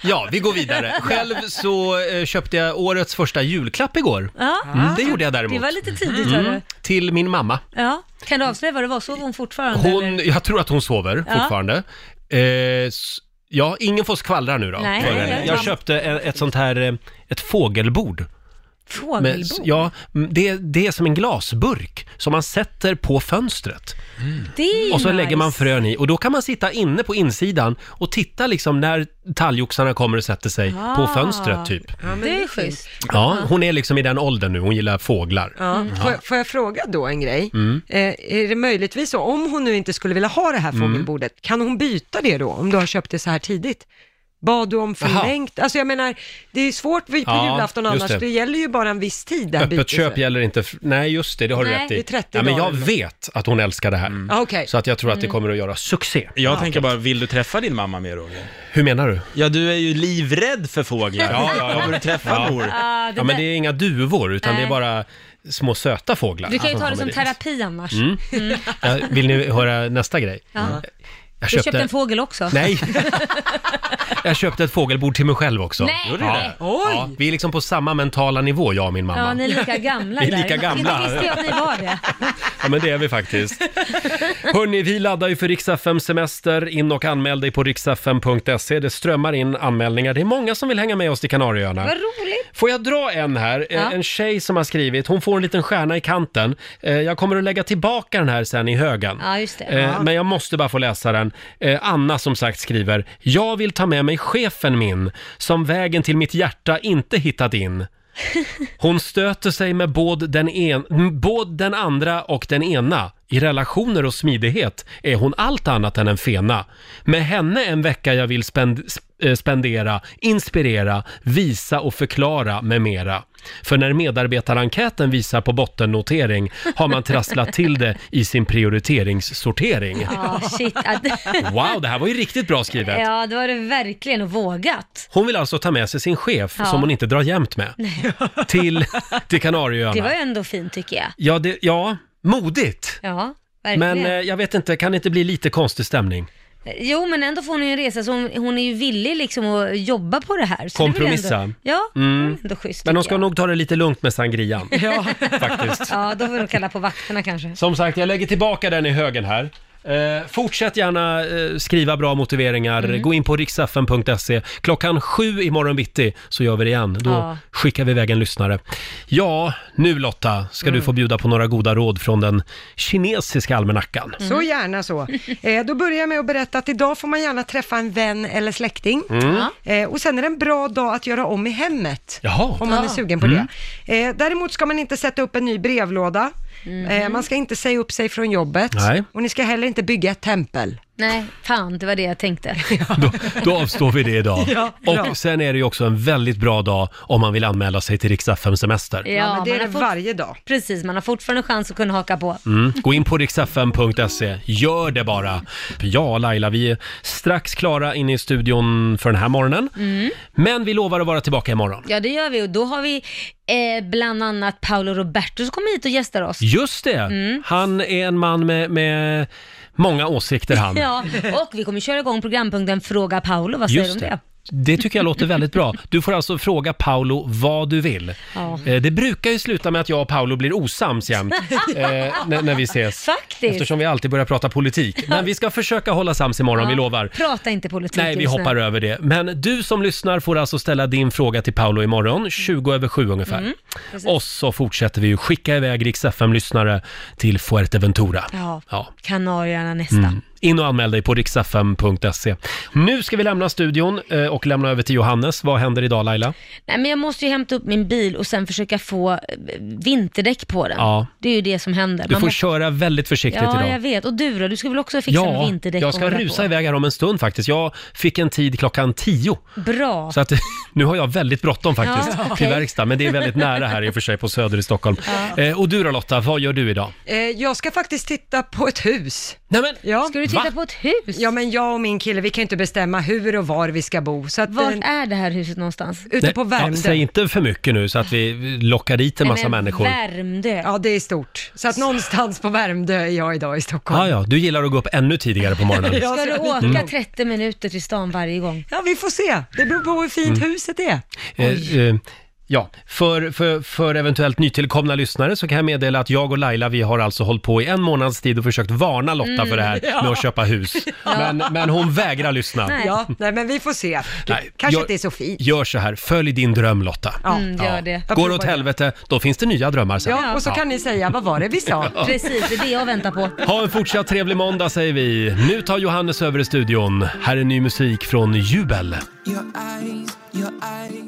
A: ja, vi går vidare. Själv så eh, köpte jag årets första julklapp igår.
C: Ja.
A: Mm, det gjorde jag däremot. Mm.
C: Det var lite tidigt, hörru.
A: Till min mamma.
C: Ja, kan du avslöja vad det var? Sov hon fortfarande?
A: Hon,
C: eller?
A: jag tror att hon sover
C: Ja.
A: fortfarande. Eh, s- ja, ingen får skvallra nu då.
C: Nej,
A: för
C: nej,
A: henne.
C: nej.
A: jag köpte ett, ett sånt här, eh, ett fågelbord. Med-
C: Fågelbo?
A: ja, mm, det, det är som en glasburk som man sätter på fönstret.
C: Det är ju
A: Och så
C: nice.
A: lägger man frön i och då kan man sitta inne på insidan och titta liksom när talgoxarna kommer och sätter sig på
C: Ah.
A: fönstret typ.
B: Ja, men
C: det är schysst.
A: Ja, hon är liksom i den åldern nu, hon gillar fåglar.
B: Ja.
C: Mm.
B: Får,
A: Ja.
B: jag- får jag fråga då en grej?
A: Mm.
B: Eh, är det möjligtvis så, om hon nu inte skulle vilja ha det här
A: Mm.
B: fågelbordet, kan hon byta det då, om du har köpt det så här tidigt? Bad du om förlängt? Alltså jag menar, det är svårt vid- på
A: Ja,
B: julafton
A: just
B: annars,
A: det.
B: det. gäller ju bara en viss tid där
A: Öppet
B: bytet.
A: köp gäller inte, f- nej just det, det har du
B: Nej,
A: rätt i.
B: det är 30
A: ja, men
B: dagar
A: jag
B: eller något.
A: vet att hon älskar det här.
B: Ah, okej.
A: Så att jag tror att det
B: Mm.
A: kommer att göra succé.
F: Jag tänker bara, vill du träffa din mamma mer Roger?
A: Hur menar du?
F: Ja, du är ju livrädd för fåglar. Kommer du träffa mor?
C: Ah, det
A: Ja, men
C: där-
A: det är inga duvor, utan det är
C: Nej.
A: bara små söta fåglar.
C: Du kan ju
A: som
C: ta det som
A: kommer dit.
C: terapi annars.
A: Mm.
C: Mm.
A: Ja, vill ni höra nästa grej?
C: Ja.
A: Jag
C: Du köpte en fågel också? (laughs)
A: Nej. Jag köpte ett fågelbord till mig själv också.
C: Nej. Gjorde du det? Oj.
A: Ja, vi är liksom på samma mentala nivå, jag och min mamma.
C: Ja, ni
A: (laughs)
C: är lika gamla
A: Vi är
C: där.
A: lika gamla.
C: Inte visste jag att ni var det.
A: Ja, men det är vi
C: (laughs)
A: faktiskt. Hörni, vi laddar ju för Riks-FM semester. In och anmäl dig på riksfm.se. Det strömmar in anmälningar. Det är många som vill hänga med oss till Kanarieöarna.
C: Vad roligt.
A: Får jag dra en här? Eh,
C: Ja.
A: En tjej som har skrivit, hon får en liten stjärna i kanten. Eh, Jag kommer att lägga tillbaka den här sen i högen.
C: Ja, just det.
A: Eh, Men jag måste bara få läsa den. Eh, Anna som sagt skriver, jag vill ta med mig chefen min, som vägen till mitt hjärta inte hittat in. Hon stöter sig med både den, en, m- både den andra och den ena. I relationer och smidighet är hon allt annat än en fena. Med henne en vecka jag vill spend, sp- eh, spendera, inspirera, visa och förklara med mera. För när medarbetarenkäten visar på bottennotering har man trasslat till det i sin prioriteringssortering.
C: Ja, shit.
A: (laughs)
C: Ja, det-
A: Wow, det här var ju riktigt bra skrivet.
C: Ja, det var det verkligen och vågat.
A: Hon vill alltså ta med sig sin chef,
C: Ja.
A: som hon inte drar jämt med, till, till Kanarieöarna.
C: Det var ju ändå fint tycker jag.
A: Ja, det, ja modigt. eh,
C: Ja, verkligen.
A: Men eh, jag vet inte, kan det inte bli lite konstig stämning?
C: Jo, men ändå får hon ju en resa, så hon, hon är ju villig liksom att jobba på det här. Så det är väl
A: Kompromissa.
C: Ändå, ja,
A: Mm.
C: ändå schysst.
A: Men de
C: tycker
A: ska nog ta det lite lugnt med
C: (laughs)
A: sangrian.
B: Ja.
A: (laughs) Faktiskt.
C: Ja, då får de kalla på vakterna kanske.
A: Som sagt, jag lägger tillbaka den i högen här. Eh, fortsätt gärna eh, skriva bra motiveringar.
C: Mm.
A: Gå in på riksfn.se. Klockan sju imorgon bitti så gör vi det igen. Då
C: Ja.
A: skickar vi iväg en lyssnare. Ja, nu Lotta ska du
B: Mm.
A: få bjuda på några goda råd från den kinesiska almanackan.
C: Mm.
B: Så gärna så.
A: Mm.
B: Eh, då börjar jag med att berätta att idag får man gärna träffa en vän eller släkting.
A: Mm.
B: Eh, och sen är det en bra dag att göra om i hemmet.
A: Jaha.
B: Om man är
A: Ja.
B: sugen på
A: Mm.
B: det. Eh, däremot ska man inte sätta upp en ny brevlåda.
C: Mhm.
B: Eh, man ska inte säga upp sig från jobbet.
A: Nej.
B: Och ni ska heller inte bygga ett tempel.
C: Nej, fan, det var det
A: (laughs)
C: jag tänkte.
A: Då avstår vi det
C: (laughs)
A: idag.
C: Ja, bra.
A: Och sen är det ju också en väldigt bra dag om man vill anmäla sig till Riksfn semester.
B: Ja, men det är det
C: varje
B: dag.
C: Precis, man har fortfarande chans att kunna haka på.
A: Mm. Gå in på riksfn.se. Gör det bara. Ja, Laila, vi är strax klara inne i studion för den här morgonen.
C: Mm.
A: Men vi lovar att vara tillbaka imorgon.
C: Ja, det gör vi och då har vi eh, bland annat Paolo Roberto som kommer hit och gästar oss.
A: Just det!
C: Mm.
A: Han är en man med, med många åsikter han.
C: (laughs) Ja, och vi kommer köra igång programpunkten Fråga Paolo, vad säger du
A: Just
C: om det?
A: det. Det tycker jag låter väldigt bra. Du får alltså fråga Paolo vad du vill.
C: Ja.
A: Eh, Det brukar ju sluta med att jag och Paolo blir osams
C: (laughs)
A: jämt eh, när, när vi ses.
C: Faktiskt.
A: Eftersom vi alltid börjar prata politik. Men vi ska försöka hålla sams imorgon,
C: Ja.
A: vi lovar.
C: Prata inte politik.
A: Nej,
C: är
A: vi
C: du snäll.
A: hoppar över det. Men du som lyssnar får alltså ställa din fråga till Paolo imorgon, 20 över 7 ungefär.
C: Mm, precis.
A: Och så fortsätter vi ju skicka iväg Rix FM-lyssnare till Fuerteventura.
C: Ja,
A: Ja.
C: Kanarierna nästa.
A: Mm. In och anmäl dig på riksfm.se. Nu ska vi lämna studion eh, och lämna över till Johannes. Vad händer idag Laila?
C: Nej, men jag måste ju hämta upp min bil och sen försöka få eh, vinterdäck på den.
A: Ja.
C: Det är ju det som händer.
A: Du
C: Man
A: får
C: måste-
A: köra väldigt försiktigt
C: Ja, jag
A: idag.
C: vet. Och du då? Du ska väl också fixa med vinterdäck?
A: jag
C: och
A: ska
C: hålla
A: rusa
C: på.
A: iväg här om en stund faktiskt. Jag fick en tid klockan tio.
C: Bra.
A: Så att, (laughs) nu har jag väldigt bråttom faktiskt
B: Ja,
A: till
B: okej.
A: verkstad, men det är väldigt nära här i och för sig på Söder i Stockholm. Eh, och du då Lotta, vad gör du idag?
B: Eh, jag ska faktiskt titta på ett hus.
A: Nej, men,
B: ja.
C: Ska du titta Va? på ett hus?
B: Ja, men jag och min kille, vi kan ju inte bestämma hur och var vi ska bo. Så att,
C: Vart
B: eh,
C: är det här huset någonstans?
B: Ute
A: Nej,
B: på Värmdö.
A: ja, säg inte för mycket nu så att vi lockar dit en massa människor.
C: Värmdö.
B: Ja, det är stort. Så att någonstans på Värmdö är jag idag i Stockholm.
A: Ah, ja, du gillar att gå upp ännu tidigare på
B: (laughs)
A: morgonen.
C: Ska du åka
A: Mm.
C: 30 minuter till stan varje gång?
B: Ja, vi får se. Det beror på hur fint
A: Mm.
B: huset är.
A: Eh, eh, Ja, för, för, för eventuellt nytillkomna lyssnare så kan jag meddela att jag och Laila, vi har alltså hållit på i en månads tid och försökt varna Lotta
B: Mm,
A: för det här
B: (laughs) ja.
A: med att köpa hus. Men, men hon vägrar lyssna.
B: Nej. Ja, nej, men vi får se.
A: Nej,
B: Kanske
A: gör-
B: inte är så fint.
A: Gör så här, följ din dröm Lotta.
B: Ja. Mm, gör det.
A: Går det åt helvete, då finns det nya drömmar sen.
B: Ja, och så kan ni säga, vad var det vi sa?
A: Ja.
C: Precis, det är det jag väntar på.
A: Ha en fortsatt trevlig måndag säger vi. Nu tar Johannes över i studion. Här är ny musik från Jubel.
L: Your eyes, your eyes,